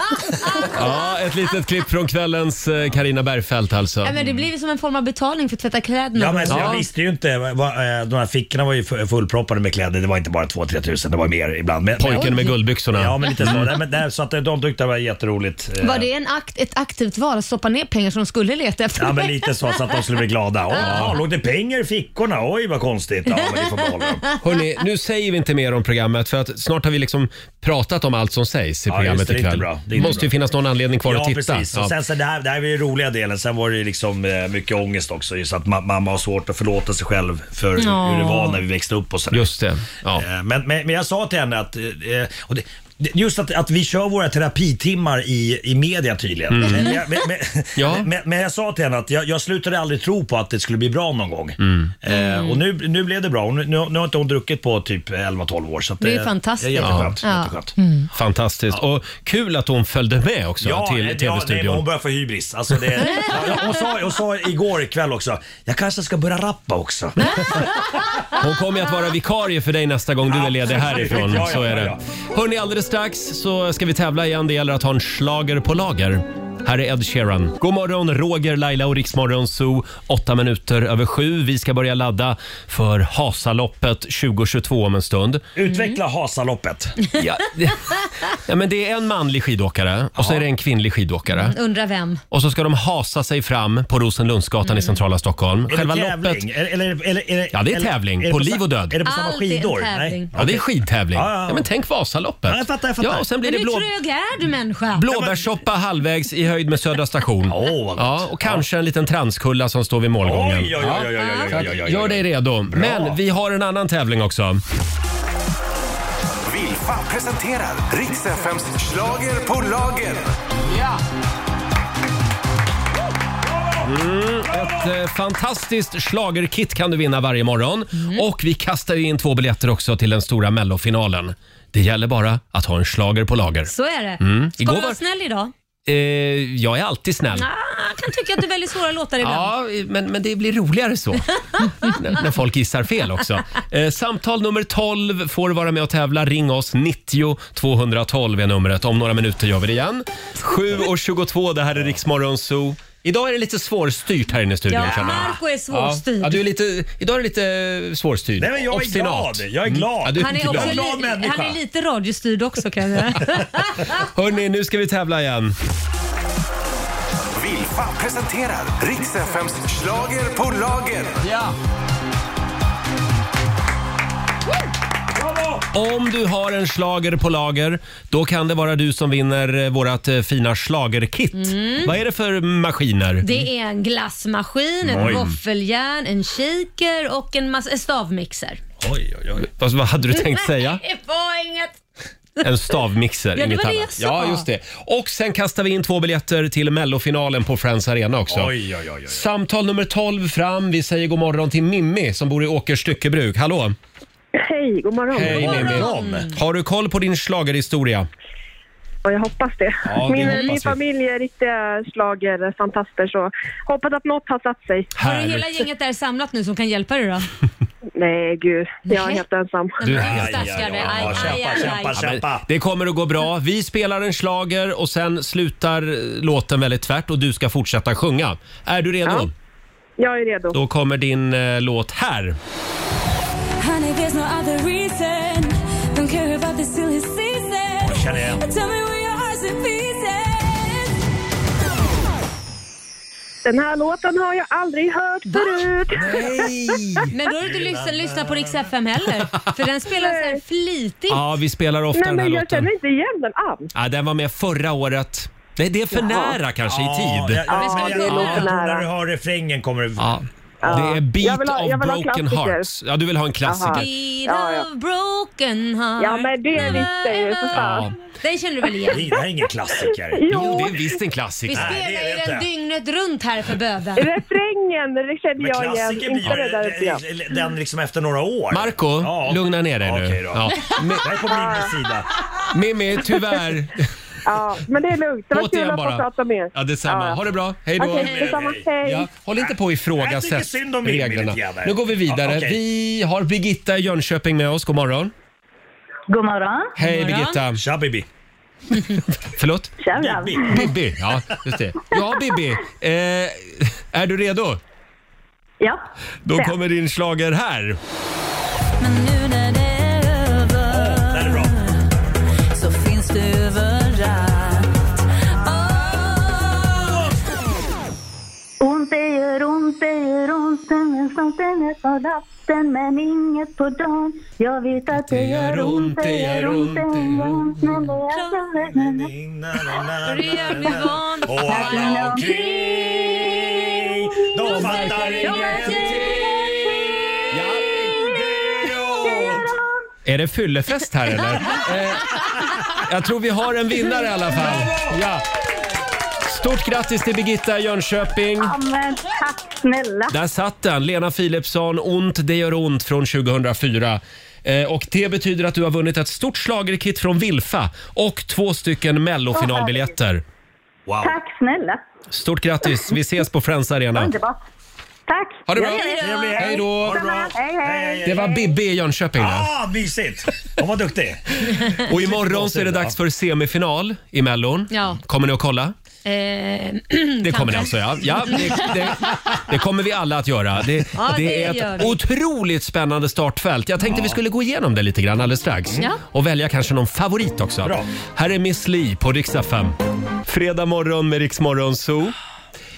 [SPEAKER 1] Ja, ett litet klipp från kvällens eh, Carina Bergfeldt alltså.
[SPEAKER 2] Ja, men det blir ju som en form av betalning för att tvätta kläderna.
[SPEAKER 7] Ja, men alltså,
[SPEAKER 1] Ja.
[SPEAKER 7] jag visste ju inte. Vad, eh, de här fickorna var ju fu- fullproppade med kläder. Det var inte bara 2-3 tusen, det var mer ibland. Men,
[SPEAKER 1] Pojken med guldbyxorna.
[SPEAKER 7] Ja, men lite så. Nej, men, nej, så att eh, de tyckte det var jätteroligt. eh,
[SPEAKER 2] Var det en akt, ett aktivt val att stoppa ner pengar som de skulle leta efter?
[SPEAKER 7] Ja men lite så, så att de skulle bli glada. Åh, låg det pengar i fickorna? Oj vad konstigt. Ja men det får behålla dem.
[SPEAKER 1] Hörrni, nu säger vi inte mer om programmet för att snart har vi liksom pratat om allt som sägs i
[SPEAKER 7] Ja,
[SPEAKER 1] programmet
[SPEAKER 7] just det, det är inte
[SPEAKER 1] ikväll.
[SPEAKER 7] bra. Det är
[SPEAKER 1] Det
[SPEAKER 7] inte
[SPEAKER 1] måste
[SPEAKER 7] bra.
[SPEAKER 1] ju finnas någon anledning kvar att
[SPEAKER 7] Ja
[SPEAKER 1] titta.
[SPEAKER 7] precis.
[SPEAKER 1] Ja.
[SPEAKER 7] Och sen så det här, det här var ju roliga delen. Sen var det ju liksom eh, mycket ångest också. Just att ma- mamma har svårt att förlåta sig själv för hur- hur det var när vi växte upp och sådär.
[SPEAKER 1] Just det. Ja.
[SPEAKER 7] Eh, Men, men, men jag sa till henne att eh, och det, det- Just att, att vi kör våra terapitimmar i, i media tydligen. Men, jag- men, men,
[SPEAKER 1] Mm. [laughs] Ja.
[SPEAKER 7] men, men jag sa till henne att jag, jag slutade aldrig tro på att det skulle bli bra någon gång.
[SPEAKER 1] Mm.
[SPEAKER 7] Eh, och nu, nu blev det bra. Och nu, nu, nu har inte hon druckit på typ 11-12 år. Så att
[SPEAKER 2] Det är
[SPEAKER 7] eh,
[SPEAKER 2] fantastiskt.
[SPEAKER 7] Det är jätteskönt.
[SPEAKER 2] Ja.
[SPEAKER 7] jätteskönt.
[SPEAKER 1] Fantastiskt. Och kul att hon följde med också
[SPEAKER 7] nej,
[SPEAKER 1] till
[SPEAKER 7] nej, men hon
[SPEAKER 1] tv-studion.
[SPEAKER 7] börjar få hybris.
[SPEAKER 2] [laughs]
[SPEAKER 7] Alltså det, ja, hon, sa, hon sa igår kväll också, jag kanske ska börja rappa också.
[SPEAKER 2] Mm.
[SPEAKER 1] Hon kommer ju att vara vikarie för dig nästa gång du är ledig härifrån.
[SPEAKER 7] Ja, ja,
[SPEAKER 1] Så är
[SPEAKER 7] ja,
[SPEAKER 1] det.
[SPEAKER 7] ja.
[SPEAKER 1] Hörni, alldeles strax så ska vi tävla igen. Det gäller att ha en slager på lager. Här är Ed Sheeran. God morgon, Roger, Laila och Riksmorgon Zoo. Åtta minuter över sju. Vi ska börja ladda för Hasaloppet 2022 om en stund.
[SPEAKER 7] Utveckla Hasaloppet.
[SPEAKER 1] Ja, det- ja, men det är en manlig skidåkare och så är det en kvinnlig skidåkare.
[SPEAKER 2] Undrar vem?
[SPEAKER 1] Och så ska de hasa sig fram på Rosenlundsgatan
[SPEAKER 7] Mm.
[SPEAKER 1] i centrala Stockholm.
[SPEAKER 7] Är
[SPEAKER 1] Själva
[SPEAKER 7] det
[SPEAKER 1] loppet...
[SPEAKER 7] tävling? Eller, eller, eller, eller,
[SPEAKER 1] Ja, det är
[SPEAKER 7] eller-
[SPEAKER 1] tävling.
[SPEAKER 7] det
[SPEAKER 1] På
[SPEAKER 7] sa-
[SPEAKER 1] liv och död.
[SPEAKER 7] Är det på samma
[SPEAKER 2] Allt är en
[SPEAKER 7] skidor?
[SPEAKER 2] tävling.
[SPEAKER 1] Ja, det är skidtävling.
[SPEAKER 7] Ja, ja, ja.
[SPEAKER 1] Ja, men tänk Vasaloppet.
[SPEAKER 7] Ja, jag fattar, jag fattar.
[SPEAKER 1] Ja, och sen blir
[SPEAKER 2] Men
[SPEAKER 1] det
[SPEAKER 2] hur
[SPEAKER 1] blå...
[SPEAKER 2] trög är du människa?
[SPEAKER 1] blåbärssoppa halvvägs i höjd med Södra station.
[SPEAKER 7] Åh, vad gott.
[SPEAKER 1] ja, och kanske en liten transkulla som står vid målgången.
[SPEAKER 7] Oj, oj, oj, oj, oj, oj, oj, oj, oj, oj.
[SPEAKER 1] Gör dig redo. Men vi har en annan tävling också.
[SPEAKER 4] Vilfa presenterar riks fms schlager på lager.
[SPEAKER 1] Ett eh, fantastiskt schlagerkit kan du vinna varje morgon.
[SPEAKER 7] Mhm.
[SPEAKER 1] Och vi kastar in två biljetter också till den stora mellofinalen. Det gäller bara att ha en slager på lager.
[SPEAKER 2] Så är det. Ska
[SPEAKER 1] Mm. Igår
[SPEAKER 2] du vara
[SPEAKER 1] var-
[SPEAKER 2] snäll idag?
[SPEAKER 1] Eh, jag är alltid snäll.
[SPEAKER 2] Ah, jag kan tycka att du väljer svåra låtar ibland.
[SPEAKER 1] Ja, men, men det blir roligare så. [laughs] när, när folk gissar fel också. Eh, samtal nummer 12 får vara med och tävla. Ring oss. 90 212 är numret. Om några minuter gör vi det igen. 7.22, det här är Riksmorgon Zoo. Idag är det lite svårstyrt här inne i studion.
[SPEAKER 2] Ja,
[SPEAKER 1] känner jag.
[SPEAKER 2] Marco är svårstyrd.
[SPEAKER 1] Ja, ja, du är lite, idag är det lite svårstyrd.
[SPEAKER 7] Nej, men jag är glad. Jag är glad.
[SPEAKER 1] Mm. Ja, du är
[SPEAKER 2] Han är,
[SPEAKER 1] glad.
[SPEAKER 2] också
[SPEAKER 7] glad
[SPEAKER 2] li-
[SPEAKER 7] människa.
[SPEAKER 2] han är lite radiostyrd också kan jag säga.
[SPEAKER 1] Hörni, nu ska vi tävla igen.
[SPEAKER 4] Vilfa presenterar riks fms schlager på lager.
[SPEAKER 7] Bravo!
[SPEAKER 1] Om du har en slager på lager, då kan det vara du som vinner eh, vårat eh, fina slagerkit.
[SPEAKER 2] Mm.
[SPEAKER 1] Vad är det för maskiner?
[SPEAKER 2] Det är en glassmaskin,
[SPEAKER 1] Oj.
[SPEAKER 2] ett våffeljärn, en shaker och en massa en stavmixer.
[SPEAKER 1] Oj, oj, oj. Vad, vad hade du tänkt säga?
[SPEAKER 2] Nej, [laughs] det var inget.
[SPEAKER 1] En stavmixer,
[SPEAKER 2] Ja, det
[SPEAKER 1] inget
[SPEAKER 2] var det
[SPEAKER 1] annat.
[SPEAKER 2] jag sa.
[SPEAKER 1] Ja, just det. Och sen kastar vi in två biljetter till Mellofinalen på Friends Arena också.
[SPEAKER 7] Oj, oj, oj. oj.
[SPEAKER 1] Samtal nummer 12 fram. Vi säger god morgon till Mimmi som bor i Åkers styckebruk. Hallå!
[SPEAKER 5] Hej, god morgon.
[SPEAKER 1] Hej
[SPEAKER 2] morgon. Mm.
[SPEAKER 1] Mimmi! Har du koll på din schlagerhistoria?
[SPEAKER 5] Och jag hoppas det.
[SPEAKER 1] Ja, vi
[SPEAKER 5] min
[SPEAKER 1] hoppas vi.
[SPEAKER 5] min familj är riktiga schlagerfantaster så hoppas att något har satt sig.
[SPEAKER 2] Har du hela gänget där samlat nu som kan hjälpa dig då?
[SPEAKER 5] Nej, gud. Jag är
[SPEAKER 2] Nej.
[SPEAKER 5] helt ensam.
[SPEAKER 1] Du är
[SPEAKER 2] är
[SPEAKER 1] helt-
[SPEAKER 2] stackare.
[SPEAKER 7] Ja,
[SPEAKER 2] Aj, aj,
[SPEAKER 7] kämpa,
[SPEAKER 2] aj,
[SPEAKER 7] kämpa,
[SPEAKER 2] aj.
[SPEAKER 1] Ja, men
[SPEAKER 7] kämpa.
[SPEAKER 1] Det kommer att gå bra. Vi spelar en slager och sen slutar eh, låten väldigt tvärt och du ska fortsätta sjunga. Är du redo?
[SPEAKER 5] Ja. Jag är redo.
[SPEAKER 1] Då kommer din eh, låt här.
[SPEAKER 10] Honey, there's no other reason. Don't care about this silly season.
[SPEAKER 7] Jag känner igen.
[SPEAKER 10] Tell me where your heart's in pieces.
[SPEAKER 5] Den här låten har jag aldrig hört förut.
[SPEAKER 2] Men då har du inte lyssnat, lyssnat på Rix FM heller. För den spelas här flitigt.
[SPEAKER 1] Ja, vi spelar ofta
[SPEAKER 5] Nej,
[SPEAKER 1] den här
[SPEAKER 5] men jag
[SPEAKER 1] låten.
[SPEAKER 5] känner inte igen den alls.
[SPEAKER 1] Ja, den var med förra året. Nej, det är för nära kanske i tid.
[SPEAKER 7] Ja,
[SPEAKER 2] Men ska
[SPEAKER 7] men
[SPEAKER 2] vi
[SPEAKER 7] jag-
[SPEAKER 2] gå
[SPEAKER 7] jag
[SPEAKER 2] lite
[SPEAKER 7] tror
[SPEAKER 5] nära?
[SPEAKER 7] När du hör refrängen kommer det...
[SPEAKER 1] Ja. Det är Beat
[SPEAKER 5] Jag vill ha- jag
[SPEAKER 1] of
[SPEAKER 5] vill ha
[SPEAKER 1] Broken
[SPEAKER 5] klassiker.
[SPEAKER 1] Hearts. Ja, du vill ha en klassiker.
[SPEAKER 5] Jaha.
[SPEAKER 2] Beat
[SPEAKER 5] Ja, ja.
[SPEAKER 2] of broken heart.
[SPEAKER 5] Ja, men det visste jag ju för
[SPEAKER 1] Ja.
[SPEAKER 5] fan.
[SPEAKER 2] Den känner du väl igen?
[SPEAKER 7] Nej, det här är ingen klassiker.
[SPEAKER 1] Jo,
[SPEAKER 5] Jo,
[SPEAKER 1] det är visst en
[SPEAKER 2] Vi
[SPEAKER 1] klassiker.
[SPEAKER 7] Nej, det
[SPEAKER 2] spelar
[SPEAKER 7] är
[SPEAKER 2] ju
[SPEAKER 7] det
[SPEAKER 2] den
[SPEAKER 7] inte.
[SPEAKER 2] dygnet runt här för böden.
[SPEAKER 5] refrängen det kände
[SPEAKER 7] Men
[SPEAKER 5] jag igen.
[SPEAKER 7] klassiker
[SPEAKER 5] Inte det där
[SPEAKER 7] blir
[SPEAKER 5] uppe. ja.
[SPEAKER 7] ju den- den liksom efter några år.
[SPEAKER 1] Marco,
[SPEAKER 7] Ja.
[SPEAKER 1] lugna ner dig nu.
[SPEAKER 7] Okej då.
[SPEAKER 1] Ja.
[SPEAKER 7] Jag är på Mimmis sida. [laughs]
[SPEAKER 1] Mimmi, tyvärr.
[SPEAKER 5] Ja, men det är lugnt. Det var
[SPEAKER 1] Låt
[SPEAKER 5] kul
[SPEAKER 1] igen
[SPEAKER 5] att få
[SPEAKER 1] bara.
[SPEAKER 5] prata med er.
[SPEAKER 1] Ja, detsamma. Ha det bra. Hej då.
[SPEAKER 5] Okej, detsamma. Hej.
[SPEAKER 1] Ja, håll inte på och
[SPEAKER 7] Jag tycker
[SPEAKER 1] ifrågasätt
[SPEAKER 7] synd om Mimmi
[SPEAKER 1] reglerna.
[SPEAKER 7] lite grann.
[SPEAKER 1] Nu går vi vidare.
[SPEAKER 7] Ja, okej.
[SPEAKER 1] Vi har Birgitta i Jönköping med oss. God morgon.
[SPEAKER 10] God morgon.
[SPEAKER 1] Hej
[SPEAKER 2] God morgon.
[SPEAKER 1] Birgitta.
[SPEAKER 7] Tja Bibi.
[SPEAKER 1] Förlåt?
[SPEAKER 10] Tjena.
[SPEAKER 7] Bibi.
[SPEAKER 1] Bibi. Ja, just det. Ja, Bibi. Eh, är du redo?
[SPEAKER 10] Ja.
[SPEAKER 1] Då kommer din slager här.
[SPEAKER 10] Men nu när det är över
[SPEAKER 7] Det här är bra.
[SPEAKER 10] så finns du överallt. Åh. Ont det gör ont, det gör ont men snart är det på natten men inget på dagen. Jag vet att det gör ont, det gör ont, det gör ont men det är så
[SPEAKER 2] Det gör vi van.
[SPEAKER 7] Och alla omkring, de fattar ingenting.
[SPEAKER 1] Ja. Är det fyllefest här eller? Eh, jag tror vi har en vinnare i alla fall. Ja. Stort grattis till Birgitta i Jönköping.
[SPEAKER 10] Men tack snälla.
[SPEAKER 1] Där satt den, Lena Philipsson, Ont det gör ont från 2004. Eh, och det betyder att du har vunnit ett stort schlagerkit från Wilfa och två stycken mellofinalbiljetter.
[SPEAKER 7] Wow.
[SPEAKER 10] Tack snälla.
[SPEAKER 1] Stort grattis, vi ses på Friends Arena.
[SPEAKER 10] Underbart. Tack.
[SPEAKER 1] Ha det bra!
[SPEAKER 7] Trevlig helg.
[SPEAKER 1] Hej då!
[SPEAKER 7] Ha det bra.
[SPEAKER 10] Hej, hej.
[SPEAKER 1] Det var Bibi i Jönköping där.
[SPEAKER 7] Ah, mysigt! Hon var duktig.
[SPEAKER 1] Och imorgon så är det dags för semifinal i Mellon.
[SPEAKER 2] Ja.
[SPEAKER 1] Kommer ni att kolla?
[SPEAKER 2] Eh, [clears throat]
[SPEAKER 1] Det kommer ni
[SPEAKER 2] kanske.
[SPEAKER 1] alltså ja. ja det, det, det kommer vi alla att göra. Det,
[SPEAKER 2] Ja,
[SPEAKER 1] det
[SPEAKER 2] det
[SPEAKER 1] är
[SPEAKER 2] gör
[SPEAKER 1] ett
[SPEAKER 2] vi.
[SPEAKER 1] otroligt spännande startfält. Jag tänkte vi skulle gå igenom det lite grann alldeles strax.
[SPEAKER 2] Ja.
[SPEAKER 1] Och välja kanske någon favorit också.
[SPEAKER 7] Bra.
[SPEAKER 1] Här är Miss Li på riksdag 5. Fredag morgon med Rix Morgon Zoo.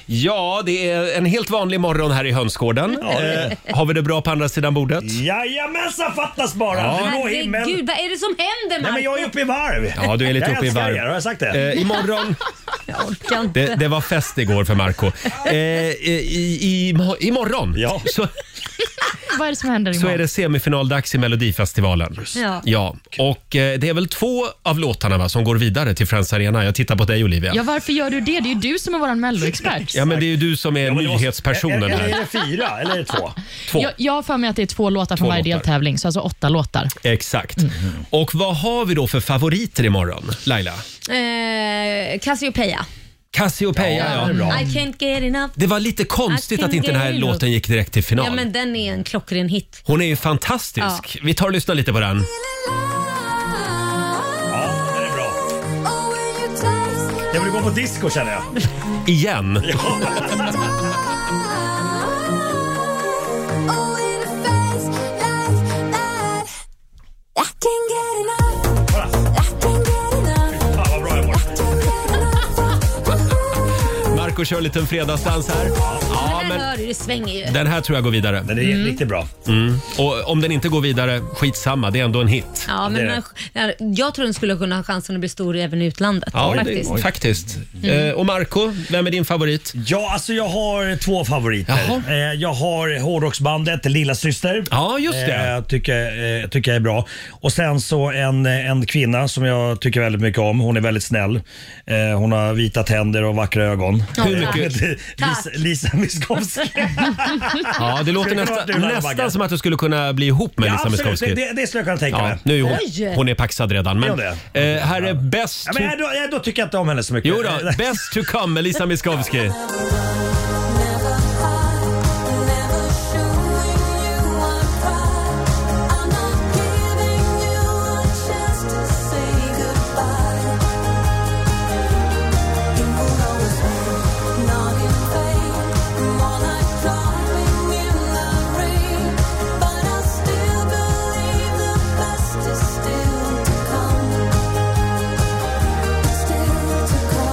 [SPEAKER 1] Ja, det är en helt vanlig morgon här i hönsgården. Eh, har vi det bra på andra sidan bordet?
[SPEAKER 7] Jajamensan, fattas bara! Blå himmel.
[SPEAKER 2] Herregud, vad är det som händer
[SPEAKER 7] Nej men jag är uppe i varv.
[SPEAKER 1] Ja, du är lite
[SPEAKER 7] jag
[SPEAKER 1] uppe i
[SPEAKER 7] älskar
[SPEAKER 1] varv.
[SPEAKER 7] Er, har jag sagt det?
[SPEAKER 1] Eh, imorgon...
[SPEAKER 2] Marko?
[SPEAKER 1] Det, det var fest igår för Marco Eh, i, i, i, imorgon
[SPEAKER 7] Ja.
[SPEAKER 1] så,
[SPEAKER 3] Vad är det som händer
[SPEAKER 1] så
[SPEAKER 3] imorgon?
[SPEAKER 1] är det semifinaldags i Melodifestivalen.
[SPEAKER 2] Ja.
[SPEAKER 1] Ja, och eh, det är väl två av låtarna va, som går vidare till Friends Arena. Jag tittar på dig Olivia.
[SPEAKER 3] Ja, varför gör du det? Det är ju du som är vår melloexpert.
[SPEAKER 1] Ja, men det är ju du som är
[SPEAKER 7] Ja, men det måste-
[SPEAKER 1] nyhetspersonen
[SPEAKER 7] Eller är
[SPEAKER 1] här.
[SPEAKER 7] det fyra? Eller är det två?
[SPEAKER 1] Två.
[SPEAKER 3] Jag, jag har för mig att det är två låtar från
[SPEAKER 1] Två
[SPEAKER 3] varje
[SPEAKER 1] låtar.
[SPEAKER 3] deltävling, så alltså åtta låtar.
[SPEAKER 1] Exakt. Och vad har vi då för favoriter imorgon, Laila?
[SPEAKER 2] Eh, Cassiopeia.
[SPEAKER 1] Cassiopeia, ja.
[SPEAKER 2] I can't get enough.
[SPEAKER 1] Det var lite konstigt
[SPEAKER 2] I can
[SPEAKER 1] att inte den här
[SPEAKER 2] get enough.
[SPEAKER 1] låten gick direkt till final.
[SPEAKER 2] Ja, men den är en klockren hit.
[SPEAKER 1] Hon är ju fantastisk. Vi tar och lyssnar lite på den.
[SPEAKER 7] Ja, den är bra. Jag vill gå på disco känner jag.
[SPEAKER 1] Igen.
[SPEAKER 7] Fan vad bra jag mår.
[SPEAKER 1] Marco kör en liten fredagsdans här. Ja,
[SPEAKER 2] jag
[SPEAKER 1] men-
[SPEAKER 2] hör ju, det svänger ju.
[SPEAKER 1] Den här tror jag går vidare. Den
[SPEAKER 2] är Mm. riktigt
[SPEAKER 1] bra. Mm. Och om den inte går vidare, skitsamma. Det är ändå en hit.
[SPEAKER 2] Ja, men man, jag tror den skulle kunna ha chansen att bli stor även i utlandet.
[SPEAKER 1] Ja,
[SPEAKER 2] faktiskt.
[SPEAKER 1] faktiskt. Det, faktiskt.
[SPEAKER 2] Mm.
[SPEAKER 1] Eh, och Marco, vem är din favorit?
[SPEAKER 7] Ja, alltså jag har två favoriter. Eh, Jag har hårdrocksbandet Lilla Syster.
[SPEAKER 1] Ja, just det.
[SPEAKER 7] Jag tycker, eh, tycker jag är bra. Och sen så en, eh, en kvinna som jag tycker väldigt mycket om. Hon är väldigt snäll. Eh, Hon har vita tänder och vackra ögon.
[SPEAKER 1] Ja, Hur tack. mycket-
[SPEAKER 7] [laughs] Lisa, Lisa Miskovsky.
[SPEAKER 1] Ja, det låter
[SPEAKER 7] Skulle
[SPEAKER 1] nästa,
[SPEAKER 7] kunna vara du, Laila Bagge.
[SPEAKER 1] nästan som att du skulle kunna bli ihop med
[SPEAKER 7] Ja,
[SPEAKER 1] Lisa
[SPEAKER 7] absolut.
[SPEAKER 1] Miskovsky.
[SPEAKER 7] Det- det- det skulle jag kunna tänka mig.
[SPEAKER 1] Nu är
[SPEAKER 7] Oj.
[SPEAKER 1] hon, hon är paxad redan. Men,
[SPEAKER 7] Är
[SPEAKER 1] eh, här är bäst...
[SPEAKER 7] Ja, men jag- jag- då tycker jag inte om henne så mycket.
[SPEAKER 1] Jo
[SPEAKER 7] [laughs]
[SPEAKER 1] då, Best to come med Lisa Miskovsky.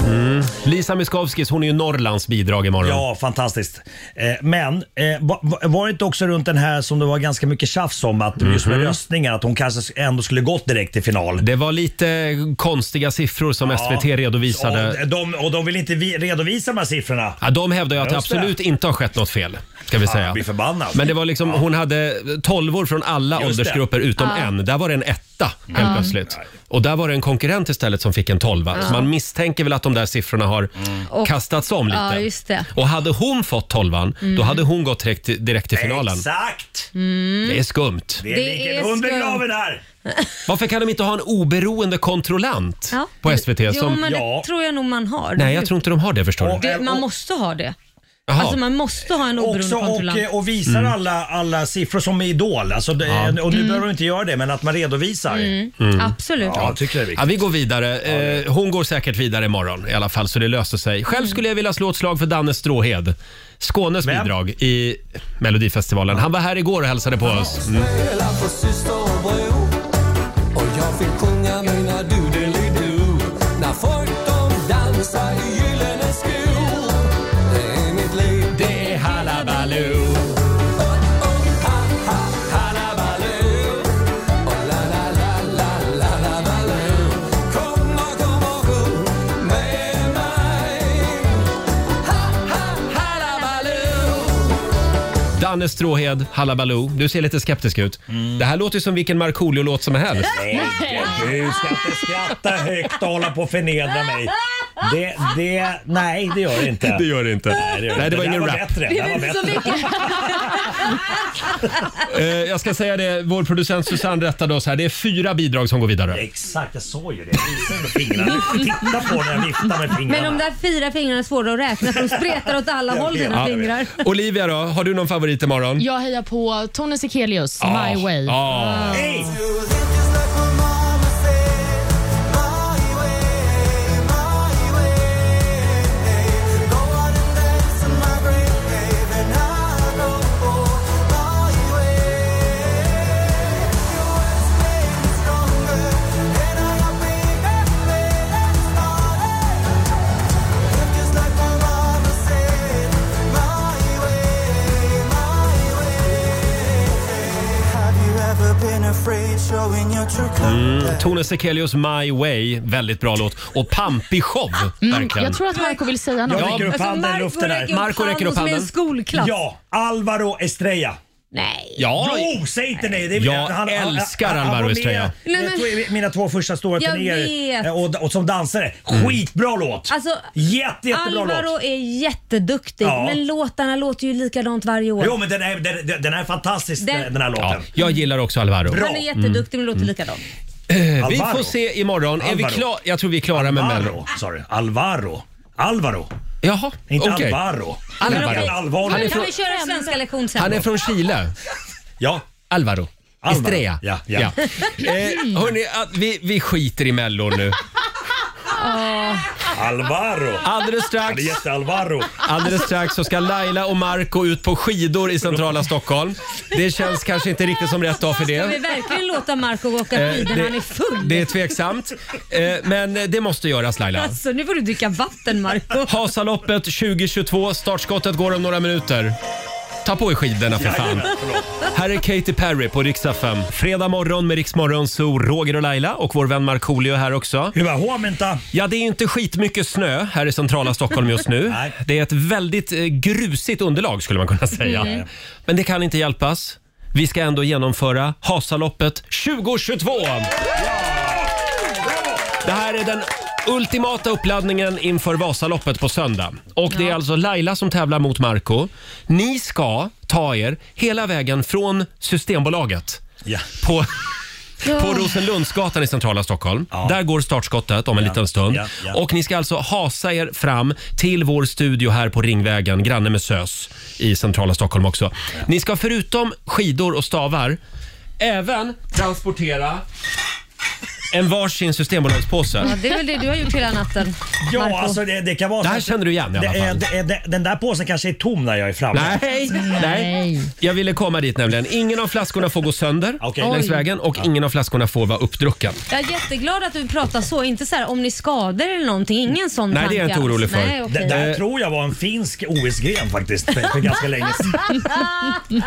[SPEAKER 1] Mm. Lisa Miskovskis, hon är ju Norrlands bidrag imorgon.
[SPEAKER 7] Ja, fantastiskt. Eh, men eh, va- va- var det inte också runt den här som det var ganska mycket tjafs om att just med
[SPEAKER 1] Mhm.
[SPEAKER 7] röstningen att hon kanske ändå skulle gått direkt till final?
[SPEAKER 1] Det var lite konstiga siffror som SVT redovisade.
[SPEAKER 7] Och de, och de vill inte vi- redovisa de här siffrorna.
[SPEAKER 1] Ja, de hävdar ju att det
[SPEAKER 7] Just det.
[SPEAKER 1] absolut inte har skett något fel. Ska vi
[SPEAKER 7] Fan,
[SPEAKER 1] säga.
[SPEAKER 7] jag blir förbannad.
[SPEAKER 1] Men det var liksom, hon hade tolvor från alla
[SPEAKER 7] Just det.
[SPEAKER 1] åldersgrupper utom
[SPEAKER 7] Ja.
[SPEAKER 1] en. Där var det en etta helt
[SPEAKER 7] Ja.
[SPEAKER 1] plötsligt. Och där var det en konkurrent istället som fick en tolva.
[SPEAKER 2] Ja. Mm.
[SPEAKER 1] Så man misstänker väl att de där siffrorna har
[SPEAKER 2] Och-
[SPEAKER 1] kastats om lite.
[SPEAKER 2] Ja, just det.
[SPEAKER 1] Och hade hon fått tolvan,
[SPEAKER 2] Mm.
[SPEAKER 1] då hade hon gått direkt, direkt till finalen.
[SPEAKER 7] Exakt!
[SPEAKER 2] Mm.
[SPEAKER 1] Det är skumt.
[SPEAKER 7] Det ligger en hund begraven här!
[SPEAKER 1] Varför kan de inte ha en oberoende kontrollant
[SPEAKER 2] Ja.
[SPEAKER 1] på SVT?
[SPEAKER 2] Jo,
[SPEAKER 1] som...
[SPEAKER 2] men det tror jag nog man har.
[SPEAKER 1] Nej, jag tror inte de har det förstår du.
[SPEAKER 2] det, Man måste ha det.
[SPEAKER 1] Jaha.
[SPEAKER 2] Alltså man måste ha en oberoende
[SPEAKER 7] Också och,
[SPEAKER 2] kontrollant.
[SPEAKER 7] eh, och visar
[SPEAKER 1] Mm.
[SPEAKER 7] alla, alla siffror som i Idol. Alltså, det-
[SPEAKER 1] Ja.
[SPEAKER 7] Och nu
[SPEAKER 1] Mm.
[SPEAKER 7] behöver de inte göra det, men att man redovisar.
[SPEAKER 2] Mm.
[SPEAKER 1] Mm.
[SPEAKER 2] Absolut.
[SPEAKER 7] Ja, jag tycker det är viktigt.
[SPEAKER 1] Ja, vi går vidare. Eh, hon går säkert vidare imorgon i alla fall, så det löser sig. Själv skulle jag vilja slå ett slag för Danne Stråhed. Skånes bidrag i Melodifestivalen. Han var här igår och hälsade på oss. Mm. Danne Stråhed, Hallabaloo. Du ser lite skeptisk ut. Det här låter ju som vilken Markoolio-låt som helst.
[SPEAKER 7] Du ska inte skratta högt och hålla på och förnedra mig. Det, det, nej, det gör det inte.
[SPEAKER 1] [laughs] Det gör det inte.
[SPEAKER 7] Nej, det, gör
[SPEAKER 1] Nej, det var
[SPEAKER 7] där
[SPEAKER 1] ingen
[SPEAKER 7] var
[SPEAKER 1] rap.
[SPEAKER 7] Bättre. Det där var bättre.
[SPEAKER 1] Eh, jag ska säga det, vår producent Susanne rättade oss här. Det är fyra bidrag som går vidare.
[SPEAKER 7] Exakt, jag sa ju det. Jag visade med fingrarna. Titta på när jag viftar med
[SPEAKER 2] Men
[SPEAKER 7] fingrarna.
[SPEAKER 2] de där fyra fingrarna är svåra att räkna för de spretar åt alla håll dina
[SPEAKER 1] Ja.
[SPEAKER 2] fingrar.
[SPEAKER 1] Olivia då, har du någon favorit imorgon?
[SPEAKER 3] Jag hejar på Tone Sekelius,
[SPEAKER 1] Ah,
[SPEAKER 3] My Way.
[SPEAKER 1] ah.
[SPEAKER 7] Hey!
[SPEAKER 1] Mm. Tone Sekelius My Way, väldigt bra låt. Och pampig show,
[SPEAKER 3] Mm,
[SPEAKER 1] verkligen.
[SPEAKER 3] jag tror att Marco vill säga något.
[SPEAKER 7] Jag räcker
[SPEAKER 2] Alltså,
[SPEAKER 7] upp handen i luften där.
[SPEAKER 1] Marco räcker upp handen.
[SPEAKER 2] skolklass.
[SPEAKER 7] Ja, Alvaro Estrella.
[SPEAKER 2] Nej.
[SPEAKER 1] Ja.
[SPEAKER 7] Jo, säg inte nej. Det är
[SPEAKER 1] Jag älskar Alvaro
[SPEAKER 7] var med
[SPEAKER 1] Estrella.
[SPEAKER 7] i-
[SPEAKER 2] Nej, men-
[SPEAKER 7] jag tror i mina två första stora
[SPEAKER 2] Jag
[SPEAKER 7] turnéer
[SPEAKER 2] vet.
[SPEAKER 7] eh, och, och som dansare.
[SPEAKER 1] Mm.
[SPEAKER 7] Skitbra låt!
[SPEAKER 2] Alltså,
[SPEAKER 7] Jätte, jättebra
[SPEAKER 2] Alvaro
[SPEAKER 7] låt.
[SPEAKER 2] är jätteduktig
[SPEAKER 7] Ja.
[SPEAKER 2] men låtarna låter ju likadant varje år.
[SPEAKER 7] Jo men den är, den, den- den är fantastisk den,
[SPEAKER 2] Den-
[SPEAKER 7] den här låten.
[SPEAKER 1] Jag gillar också Alvaro.
[SPEAKER 2] Han är jätteduktig men låter likadant.
[SPEAKER 1] Mm. Eh, Vi
[SPEAKER 7] Alvaro.
[SPEAKER 1] får se imorgon. Är vi
[SPEAKER 7] Alvaro.
[SPEAKER 1] klar? Jag tror vi är klara med
[SPEAKER 7] Alvaro,
[SPEAKER 1] Mello.
[SPEAKER 7] Sorry, Alvaro. Alvaro.
[SPEAKER 1] Jaha,
[SPEAKER 7] Inte
[SPEAKER 1] okej.
[SPEAKER 7] Alvaro.
[SPEAKER 1] Alvaro.
[SPEAKER 7] Vilken Alvaro.
[SPEAKER 1] Han är
[SPEAKER 2] Kan
[SPEAKER 1] från,
[SPEAKER 2] vi köra svenska lektion sen?
[SPEAKER 1] han är från Chile.
[SPEAKER 7] Ja.
[SPEAKER 1] Alvaro.
[SPEAKER 7] Alvaro.
[SPEAKER 1] Estrella.
[SPEAKER 7] Ja, ja.
[SPEAKER 1] ah, Eh, hörni, att vi, vi skiter i Mello nu.
[SPEAKER 3] Ah.
[SPEAKER 7] Alvaro.
[SPEAKER 1] Alldeles strax.
[SPEAKER 7] Det heter Alvaro.
[SPEAKER 1] Alldeles strax så ska Laila och Marco ut på skidor i centrala Stockholm. Det känns kanske inte riktigt som rätt dag för
[SPEAKER 2] Ska vi
[SPEAKER 1] det.
[SPEAKER 2] verkligen låta Marco åka
[SPEAKER 1] Eh,
[SPEAKER 2] skidor när
[SPEAKER 1] det-
[SPEAKER 2] han är full?
[SPEAKER 1] Det är tveksamt. Eh, Men det måste göras Laila.
[SPEAKER 2] Alltså, nu får du dricka vatten Marco
[SPEAKER 1] Hasaloppet 2022, startskottet går om några minuter. Ta på er skidorna för fan.
[SPEAKER 2] Jajamän,
[SPEAKER 1] Här är Katy Perry på riksdag 5. Fredag morgon med Riksmorgon så Roger och Laila och vår vän Markoolio är här också. Ja, det är inte skitmycket snö här i centrala Stockholm just nu. Det är ett väldigt eh, grusigt underlag skulle man kunna säga.
[SPEAKER 11] Mm.
[SPEAKER 1] Men det kan inte hjälpas. Vi ska ändå genomföra Hasaloppet 2022! Det här är den ultimata uppladdningen inför Vasaloppet på söndag. Och det är alltså Laila som tävlar mot Marco. Ni ska ta er hela vägen från Systembolaget på, på Rosenlundsgatan i centrala Stockholm. Där går startskottet om en liten stund.
[SPEAKER 11] Ja, ja.
[SPEAKER 1] Och ni ska alltså hasa er fram till vår studio här på Ringvägen, granne med SÖS i centrala Stockholm också. Ni ska förutom skidor och stavar även transportera en varsin systembolagspåse.
[SPEAKER 2] Ja, det är väl det du har gjort hela natten.
[SPEAKER 7] Ja,
[SPEAKER 2] Marco.
[SPEAKER 7] alltså det, det kan vara
[SPEAKER 1] Det
[SPEAKER 7] så
[SPEAKER 1] här
[SPEAKER 7] att-
[SPEAKER 1] känner du igen i alla
[SPEAKER 7] Det är-
[SPEAKER 1] fall.
[SPEAKER 7] det är- det- Den där påsen kanske är tom när jag är framme.
[SPEAKER 1] Nej, nej. Jag ville komma dit nämligen. Ingen av flaskorna får gå sönder längs
[SPEAKER 2] Oj.
[SPEAKER 1] vägen och ingen av flaskorna får vara uppdrucken.
[SPEAKER 2] Jag är jätteglad att du pratar så, inte så här om ni skadar eller någonting. Ingen sån
[SPEAKER 1] Nej, det är jag
[SPEAKER 2] tanke
[SPEAKER 1] inte orolig
[SPEAKER 2] alls.
[SPEAKER 1] för.
[SPEAKER 2] Nej, okej.
[SPEAKER 7] Det
[SPEAKER 1] Eh.
[SPEAKER 7] där tror jag var en finsk OS-gren faktiskt för, för
[SPEAKER 2] [laughs]
[SPEAKER 7] ganska länge sedan.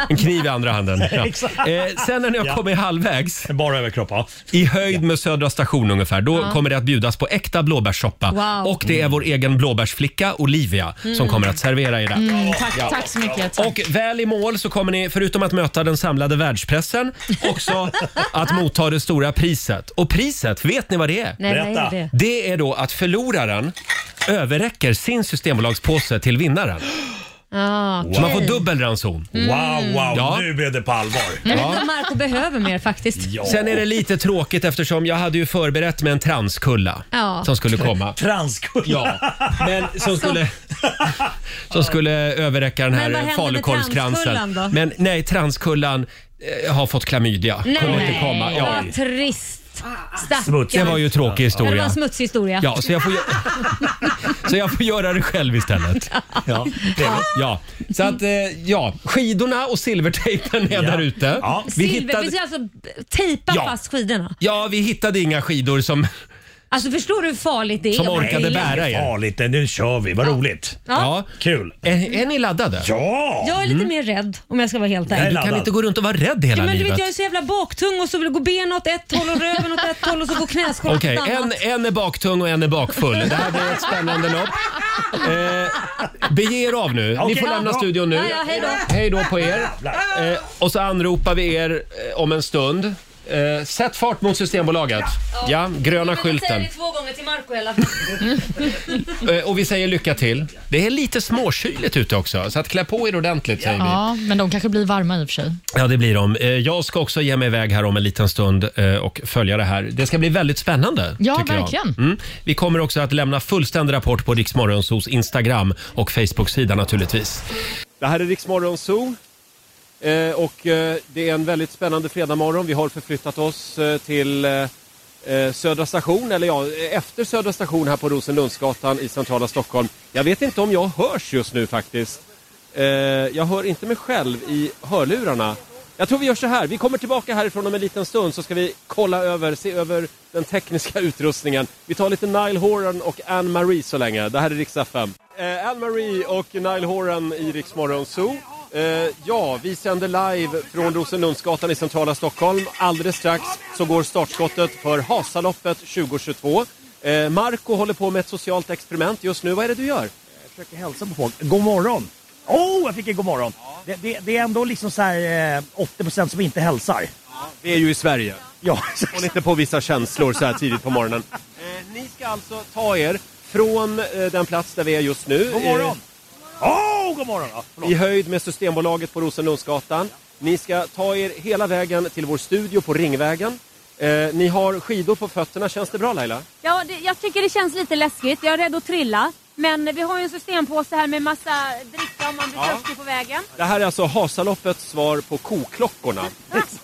[SPEAKER 1] En kniv i andra
[SPEAKER 7] [laughs]
[SPEAKER 1] handen. Ja.
[SPEAKER 7] Exakt.
[SPEAKER 1] Eh, sen när ni har
[SPEAKER 7] Ja.
[SPEAKER 1] kommit halvvägs.
[SPEAKER 7] Bara överkropp, ja.
[SPEAKER 1] I höjd med Södra station ungefär. Då
[SPEAKER 2] Ja.
[SPEAKER 1] kommer det att bjudas på äkta blåbärssoppa.
[SPEAKER 2] Wow.
[SPEAKER 1] Och det är vår egen blåbärsflicka Olivia som
[SPEAKER 3] Mm.
[SPEAKER 1] kommer att servera er det.
[SPEAKER 3] Mm, tack,
[SPEAKER 1] Ja.
[SPEAKER 3] tack så mycket. Tack.
[SPEAKER 1] Och väl i mål så kommer ni, förutom att möta den samlade
[SPEAKER 2] [laughs]
[SPEAKER 1] världspressen, också att motta det stora priset. Och priset, vet ni vad det är?
[SPEAKER 11] Nej, vad är Berätta. det?
[SPEAKER 1] Det är då att förloraren överräcker sin systembolagspåse till vinnaren. Så
[SPEAKER 2] Ja, Ah, okej.
[SPEAKER 1] man får dubbel ranson.
[SPEAKER 2] Mm. Wow, wow,
[SPEAKER 1] nu blev det på allvar.
[SPEAKER 2] Jag vet inte om Marco behöver mer faktiskt.
[SPEAKER 1] Sen är det lite tråkigt eftersom jag hade ju förberett med en transkulla
[SPEAKER 2] Ja.
[SPEAKER 1] som skulle komma.
[SPEAKER 7] Transkulla?
[SPEAKER 1] Ja, men som skulle, som skulle överräcka den
[SPEAKER 2] Men
[SPEAKER 1] här
[SPEAKER 2] vad hände med transkullan
[SPEAKER 1] falukorvskransen.
[SPEAKER 2] då?
[SPEAKER 1] Men nej, transkullan eh, har fått klamydia.
[SPEAKER 2] Nej,
[SPEAKER 1] Kunde inte komma. Ja.
[SPEAKER 2] vad trist. Stackarn.
[SPEAKER 1] Det var ju en tråkig historia.
[SPEAKER 2] Det var en smutsig historia.
[SPEAKER 1] Ja, så jag får, gö-
[SPEAKER 2] [laughs]
[SPEAKER 1] så jag får göra det själv istället. Ja, ja. Så att, eh, ja, skidorna och silvertejpen är där ute.
[SPEAKER 2] Silver, vi ska alltså tejpa
[SPEAKER 1] Ja.
[SPEAKER 2] fast skidorna.
[SPEAKER 1] Ja, vi hittade inga skidor som,
[SPEAKER 2] Alltså förstår du hur farligt det är?
[SPEAKER 1] som
[SPEAKER 2] att
[SPEAKER 1] orkade
[SPEAKER 2] trilla?
[SPEAKER 1] bära er.
[SPEAKER 7] Farligt, nu kör vi. Vad roligt.
[SPEAKER 2] Ja.
[SPEAKER 1] Kul. Är, är ni laddade?
[SPEAKER 7] Ja!
[SPEAKER 2] Jag är lite
[SPEAKER 1] Mm.
[SPEAKER 2] mer rädd om jag ska vara helt
[SPEAKER 1] Nej,
[SPEAKER 2] ärlig.
[SPEAKER 1] du kan inte gå runt och vara rädd hela
[SPEAKER 2] ja, men Du
[SPEAKER 1] livet.
[SPEAKER 2] vet, jag är så jävla baktung och så vill gå ben åt ett håll och röven åt ett håll och så går knäskålen åt
[SPEAKER 1] Okej,
[SPEAKER 2] ett annat.
[SPEAKER 1] en, en är baktung och en är bakfull. Det här blir ett spännande lopp. Eh, bege er av nu. Ni
[SPEAKER 2] Okej,
[SPEAKER 1] får
[SPEAKER 2] ja,
[SPEAKER 1] lämna
[SPEAKER 2] bra.
[SPEAKER 1] studion nu.
[SPEAKER 2] Ja, ja, hej då.
[SPEAKER 1] Hej då på er. Eh, och så anropar vi er eh, om en stund. Eh, sätt fart mot Systembolaget. Ja, gröna skylten.
[SPEAKER 2] två gånger till Marco i alla fall.
[SPEAKER 1] Eh, och vi säger lycka till. Det är lite småkyligt ute också, så att klä på er ordentligt säger vi.
[SPEAKER 3] Ja, men de kanske blir varma i och för sig.
[SPEAKER 1] Ja, det blir de. Eh, Jag ska också ge mig iväg här om en liten stund eh, och följa det här. Det ska bli väldigt spännande.
[SPEAKER 3] Ja,
[SPEAKER 1] tycker
[SPEAKER 3] verkligen.
[SPEAKER 1] Jag. Mm. Vi kommer också att lämna fullständig rapport på Riksmorgonsos Instagram och Facebook-sida naturligtvis. Det här är Riksmorgonso. Eh, och eh, det är en väldigt spännande fredagmorgon. Vi har förflyttat oss eh, till eh, eh, Södra station, eller ja, efter Södra station här på Rosenlundsgatan i centrala Stockholm. Jag vet inte om jag hörs just nu faktiskt. Eh, jag hör inte mig själv i hörlurarna. Jag tror vi gör så här, vi kommer tillbaka härifrån om en liten stund så ska vi kolla över, se över den tekniska [laughs] utrustningen. Vi tar lite Nile Horan och Anne Marie så länge. Det här är Rix FM. Eh, Anne Marie och Nile Horan i Rix Morgon Zoo. Eh, ja, vi sänder live från Rosenlundsgatan i centrala Stockholm. Alldeles strax så går startskottet för Hasaloppet 2022. Eh, Marco håller på med ett socialt experiment just nu. Vad är det du gör?
[SPEAKER 7] Jag försöker hälsa på folk. God morgon! Oh, jag fick en god morgon. Det, det, det är ändå liksom så här eh, 80% som inte hälsar.
[SPEAKER 1] Vi är ju i Sverige.
[SPEAKER 7] Ja.
[SPEAKER 1] Och lite på vissa känslor så här tidigt på morgonen. Eh, ni ska alltså ta er från eh, den plats där vi är just nu.
[SPEAKER 7] God morgon! Åh, Eh, Oh, god morgon! Ja,
[SPEAKER 1] Eh, I höjd med Systembolaget på Rosenlundsgatan. Ni ska ta er hela vägen till vår studio på Ringvägen. Eh, ni har skidor på fötterna. Känns det bra Laila?
[SPEAKER 12] Ja, det, jag tycker det känns lite läskigt. Jag är rädd att trilla. Men vi har ju en systempåse här med massa dricka om man blir
[SPEAKER 1] Ja.
[SPEAKER 12] törstig på vägen.
[SPEAKER 1] Det här är alltså [laughs] Hasaloppets svar på koklockorna.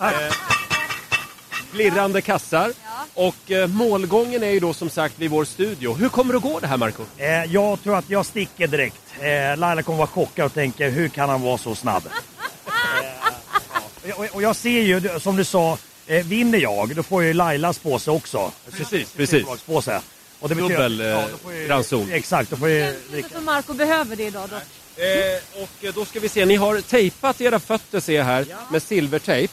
[SPEAKER 1] Eh, Glirrande kassar. Och eh, målgången är ju då som sagt vid vår studio. Hur kommer det att gå det här Marco?
[SPEAKER 7] Eh, jag tror att jag sticker direkt. Eh, Laila kommer vara chockad och tänker hur kan han vara så snabb? Eh, ja. och, jag, och jag ser ju, du- som du sa, eh, vinner jag då får jag ju Lailas påse också.
[SPEAKER 1] Precis, precis.
[SPEAKER 7] Påse. Och det betyder-
[SPEAKER 1] Dubbel eh,
[SPEAKER 7] ja, då får jag ju-
[SPEAKER 1] ranson.
[SPEAKER 7] Exakt, då får jag ju
[SPEAKER 12] Inte för Marco behöver det idag då.
[SPEAKER 1] Eh, och eh, då ska vi se, ni har tejpat era fötter ser jag här med silvertejp.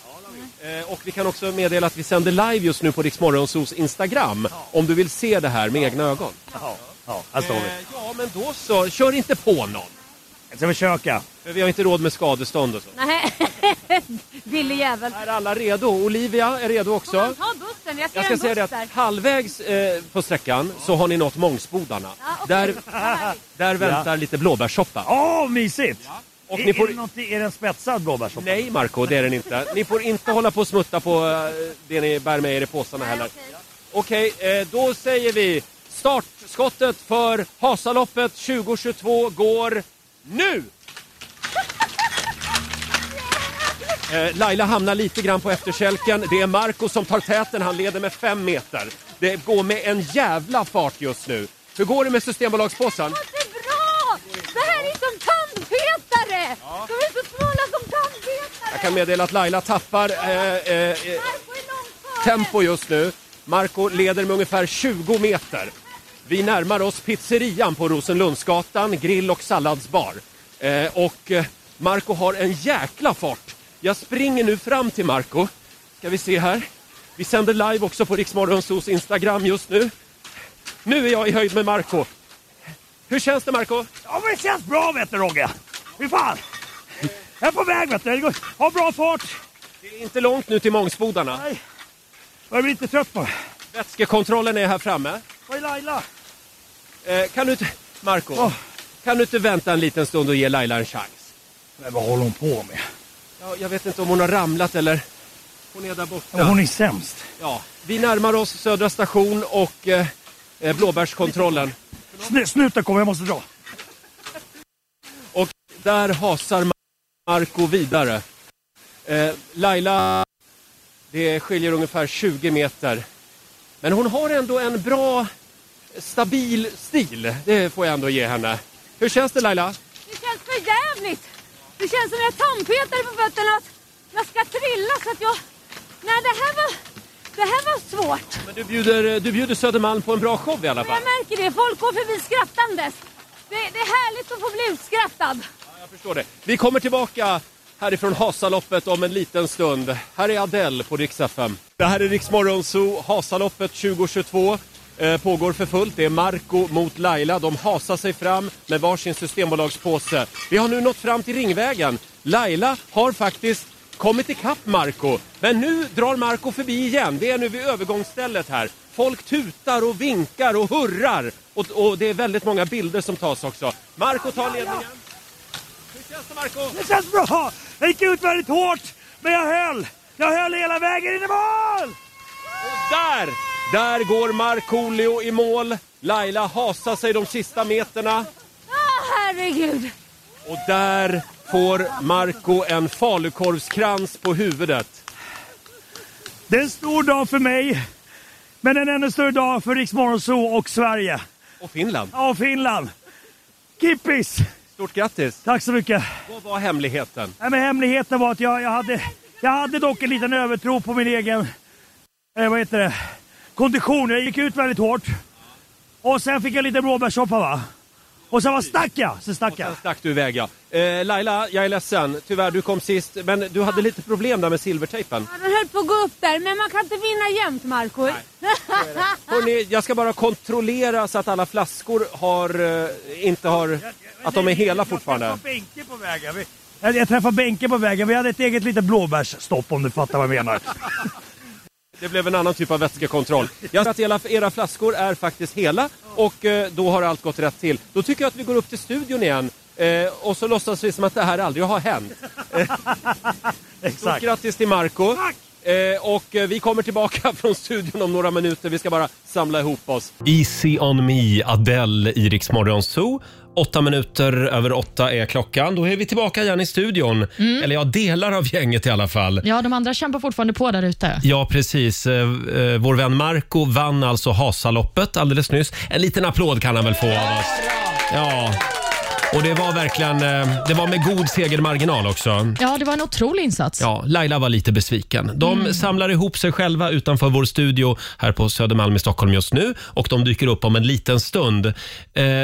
[SPEAKER 1] Eh, och vi kan också meddela att vi sänder live just nu på Rix Morgonzos Instagram om du vill se det här med egna ögon.
[SPEAKER 7] Ja, ja här står vi.
[SPEAKER 1] Eh, ja, men då så. Kör inte på någon.
[SPEAKER 7] Jag ska försöka.
[SPEAKER 1] För vi har inte råd med skadestånd och så.
[SPEAKER 12] Nej, billig jävel.
[SPEAKER 1] Är alla redo? Olivia är redo också.
[SPEAKER 12] Ta bussen, jag ser
[SPEAKER 1] Jag ska
[SPEAKER 12] en buss
[SPEAKER 1] säga det
[SPEAKER 12] där.
[SPEAKER 1] att halvvägs eh, på sträckan så har ni nått Mångsbodarna. Där, där väntar lite blåbärssoppa.
[SPEAKER 7] Åh, mysigt!
[SPEAKER 1] Och
[SPEAKER 7] är,
[SPEAKER 1] ni får-
[SPEAKER 7] är, det något, är det en spetsad blåbärssoppa?
[SPEAKER 1] Nej, Marco, det är den inte. Ni får inte hålla på och smutta på eh, det ni bär med er i påsarna heller. Okej, eh, då säger vi startskottet för Hasaloppet 2022 går nu! Eh, Laila hamnar lite grann på efterkälken. Det är Marco som tar täten. Han leder med fem meter. Det går med en jävla fart just nu. Hur går det med Systembolagspåsen?
[SPEAKER 12] Bra! Det här är som tandpetare! De är så smala som tandpetare!
[SPEAKER 1] Jag kan meddela att Laila tappar eh, eh, eh, tempo just nu. Marco leder med ungefär 20 meter. Vi närmar oss pizzerian på Rosenlundsgatan, grill och salladsbar. Eh, och eh, Marco har en jäkla fart. Jag springer nu fram till Marco. Ska vi se här. Vi sänder live också på Riksmorgonsos Instagram just nu. Nu är jag i höjd med Marco. Hur känns det Marco?
[SPEAKER 7] Ja, men det känns bra vet du Rogge. Fy fan. Jag är på väg vet du. Det går- Har bra fart.
[SPEAKER 1] Det är inte långt nu till Mångsbodarna.
[SPEAKER 7] Nej. Jag blir lite trött på det.
[SPEAKER 1] Vätskekontrollen är här framme.
[SPEAKER 7] Var är Laila?
[SPEAKER 1] Eh, kan du inte, Marco, kan du inte vänta en liten stund och ge Laila en chans?
[SPEAKER 7] Men vad håller hon på med?
[SPEAKER 1] Ja, jag vet inte om hon har ramlat eller... Hon är där borta.
[SPEAKER 7] Hon är sämst.
[SPEAKER 1] Ja, vi närmar oss Södra station och eh, eh, blåbärskontrollen.
[SPEAKER 7] Snu- Snuten kommer, jag måste dra.
[SPEAKER 1] Och där hasar Ma- Marco vidare. Eh, Laila, det skiljer ungefär 20 meter. Men hon har ändå en bra, stabil stil. Det får jag ändå ge henne. Hur känns det Laila?
[SPEAKER 12] Det känns för jävligt. Det känns som jag tandpetare på fötterna. Att jag ska trilla så att jag... Nej, det här var, det här var svårt.
[SPEAKER 1] Men du bjuder, du bjuder Södermalm på en bra show i alla fall.
[SPEAKER 12] Jag märker det. Folk går förbi skrattandes. Det, det är härligt att få bli utskrattad.
[SPEAKER 1] Jag förstår det. Vi kommer tillbaka härifrån Hasaloppet om en liten stund. Här är Adele på Rix FM. Det här är Rix Morgon Zoo. Hasaloppet 2022 eh, pågår för fullt. Det är Marco mot Laila. De hasar sig fram med varsin systembolagspåse. Vi har nu nått fram till Ringvägen. Laila har faktiskt kommit ikapp Marco. Men nu drar Marco förbi igen. Det är nu vid övergångsstället här. Folk tutar och vinkar och hurrar. Och, och det är väldigt många bilder som tas också. Marco tar ledningen. Hur känns det Marco?
[SPEAKER 7] Det känns bra! Jag gick ut väldigt hårt, men jag höll! Jag höll hela vägen in i mål!
[SPEAKER 1] Där! Där går Markoolio i mål. Laila hasar sig de sista meterna.
[SPEAKER 12] Ah, herregud.
[SPEAKER 1] Och där får Marco en falukorvskrans på huvudet.
[SPEAKER 7] Det är en stor dag för mig, men en ännu större dag för Rix Morgon Zoo och Sverige.
[SPEAKER 1] Och Finland.
[SPEAKER 7] Ja, och Finland. Kippis!
[SPEAKER 1] Stort grattis!
[SPEAKER 7] Tack så mycket.
[SPEAKER 1] Vad var hemligheten?
[SPEAKER 7] Nej, men hemligheten var att jag, jag, hade, jag hade dock en liten övertro på min egen eh, vad heter det? kondition. Jag gick ut väldigt hårt. Och sen fick jag lite blåbärssoppa va. Och sen var stack jag. Sen stack jag.
[SPEAKER 1] Sen stack du iväg ja. Eh, Laila, jag är ledsen. Tyvärr, du kom sist. Men du hade lite problem där med silvertejpen.
[SPEAKER 12] Ja, Den höll på att gå upp där, men man kan inte vinna jämt, Marco.
[SPEAKER 1] Hörrni, jag ska bara kontrollera så att alla flaskor har, eh, inte har... Att de är hela fortfarande.
[SPEAKER 7] Benke på vägen. Vi- Jag, jag träffade Benke på vägen. Vi hade ett eget litet blåbärsstopp om du fattar vad
[SPEAKER 1] [laughs]
[SPEAKER 7] jag menar.
[SPEAKER 1] Det blev en annan typ av vätskekontroll. Jag ser att era, era flaskor är faktiskt hela och eh, då har allt gått rätt till. Då tycker jag att vi går upp till studion igen eh, och så låtsas vi som att det här aldrig har hänt. Stort
[SPEAKER 7] Exakt.
[SPEAKER 1] grattis till Marco
[SPEAKER 7] Tack!
[SPEAKER 1] Eh, och eh, vi kommer tillbaka [laughs] från studion om några minuter. Vi ska bara samla ihop oss. Easy on me, Adele i Rix Morgon Zoo. Åtta minuter över åtta är klockan. Då är vi tillbaka igen i studion. Eller ja, delar av gänget i alla fall.
[SPEAKER 3] Ja, de andra kämpar fortfarande på där ute.
[SPEAKER 1] Ja, precis. Eh, eh, Vår vän Marco vann alltså Hasaloppet alldeles nyss. En liten applåd kan han väl få av oss. Ja. Och det var verkligen eh, det var med god segermarginal också.
[SPEAKER 3] Ja, det var en otrolig insats.
[SPEAKER 1] Ja, Laila var lite besviken. De
[SPEAKER 3] Mm.
[SPEAKER 1] samlar ihop sig själva utanför vår studio här på Södermalm i Stockholm just nu och de dyker upp om en liten stund. Eh,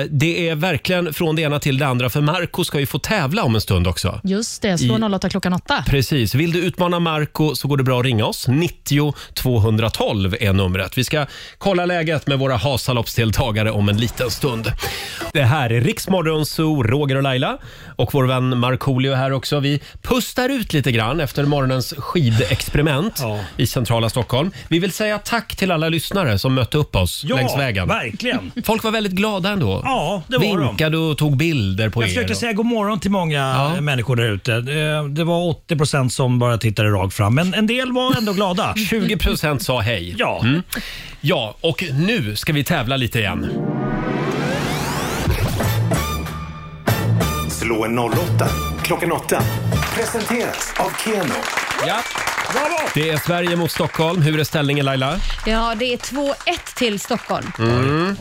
[SPEAKER 1] det är verkligen från det ena till det andra för Marco ska ju få tävla om en stund också.
[SPEAKER 3] Just det, slå
[SPEAKER 1] I-
[SPEAKER 3] 08 klockan 8.
[SPEAKER 1] Precis. Vill du utmana Marco så går det bra att ringa oss. 90 212 är numret. Vi ska kolla läget med våra Hasaloppsdeltagare om en liten stund. Det här är Riksmorgon Zoo, Roger och Laila och vår vän Markoolio är här också. Vi pustar ut lite grann efter morgonens skidexperiment i centrala Stockholm. Vi vill säga tack till alla lyssnare som mötte upp oss
[SPEAKER 7] Ja,
[SPEAKER 1] längs vägen. [laughs]
[SPEAKER 7] verkligen.
[SPEAKER 1] Folk var väldigt glada ändå.
[SPEAKER 7] Ja, det var de.
[SPEAKER 1] Vinkade och tog bilder på
[SPEAKER 7] Jag
[SPEAKER 1] er.
[SPEAKER 7] försökte
[SPEAKER 1] och-
[SPEAKER 7] säga god morgon till många eh, människor där ute. Eh, Det var 80 procent som bara tittade rakt fram, men en del var
[SPEAKER 1] [laughs]
[SPEAKER 7] ändå glada.
[SPEAKER 1] 20 procent sa hej.
[SPEAKER 7] Ja.
[SPEAKER 1] Mm. Ja, och nu ska vi tävla lite igen.
[SPEAKER 4] Slå en 08 klockan 8. Presenteras av Keno.
[SPEAKER 1] Ja. Det är Sverige mot Stockholm. Hur är ställningen Laila?
[SPEAKER 2] Ja, det är 2-1 till Stockholm.
[SPEAKER 1] Mm.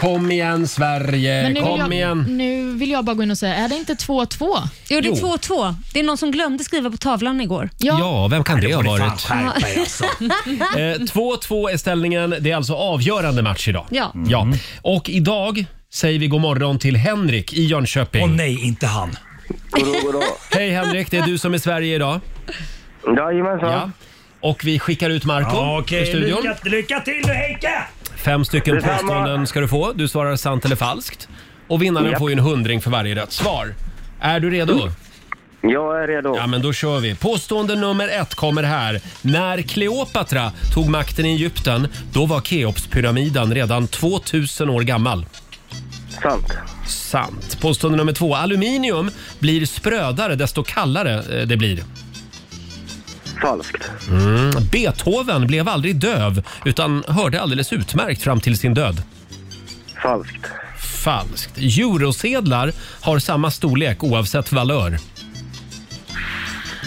[SPEAKER 1] Kom igen Sverige,
[SPEAKER 3] Men nu vill,
[SPEAKER 1] kom
[SPEAKER 3] jag,
[SPEAKER 1] igen.
[SPEAKER 3] nu vill jag bara gå in och säga, är det inte 2-2?
[SPEAKER 2] Jo, det är
[SPEAKER 1] Jo.
[SPEAKER 2] 2-2. Det är någon som glömde skriva på tavlan igår.
[SPEAKER 1] Ja, vem kan det ha varit?
[SPEAKER 2] fan skärpa er,
[SPEAKER 1] alltså. 2-2 är ställningen. Det är alltså avgörande match idag.
[SPEAKER 2] Ja.
[SPEAKER 1] ja. Och idag säger vi god morgon till Henrik i Jönköping. Åh
[SPEAKER 7] nej, inte han.
[SPEAKER 11] Goddag, goddag.
[SPEAKER 1] Hej Henrik, det är du som är Sverige idag.
[SPEAKER 11] Jajamensan.
[SPEAKER 1] Ja. Och vi skickar ut Marco
[SPEAKER 7] Ja,
[SPEAKER 1] ur
[SPEAKER 7] Okej,
[SPEAKER 1] studion.
[SPEAKER 7] lycka, lycka till nu Henke!
[SPEAKER 1] Fem stycken
[SPEAKER 7] Detsamma.
[SPEAKER 1] påståenden ska du få. Du svarar sant eller falskt. Och vinnaren
[SPEAKER 11] Japp.
[SPEAKER 1] får ju en hundring för varje rätt svar. Är du redo?
[SPEAKER 11] Mm. Jag är redo.
[SPEAKER 1] Ja, men då kör vi. Påstående nummer ett kommer här. När Kleopatra tog makten i Egypten, då var Keopspyramiden redan 2000 år gammal.
[SPEAKER 11] Sant.
[SPEAKER 1] Sant. Påstående nummer två. Aluminium blir sprödare desto kallare eh, det blir.
[SPEAKER 11] Falskt.
[SPEAKER 1] Mm. Beethoven blev aldrig döv utan hörde alldeles utmärkt fram till sin död.
[SPEAKER 11] Falskt.
[SPEAKER 1] Falskt. Eurosedlar har samma storlek oavsett valör.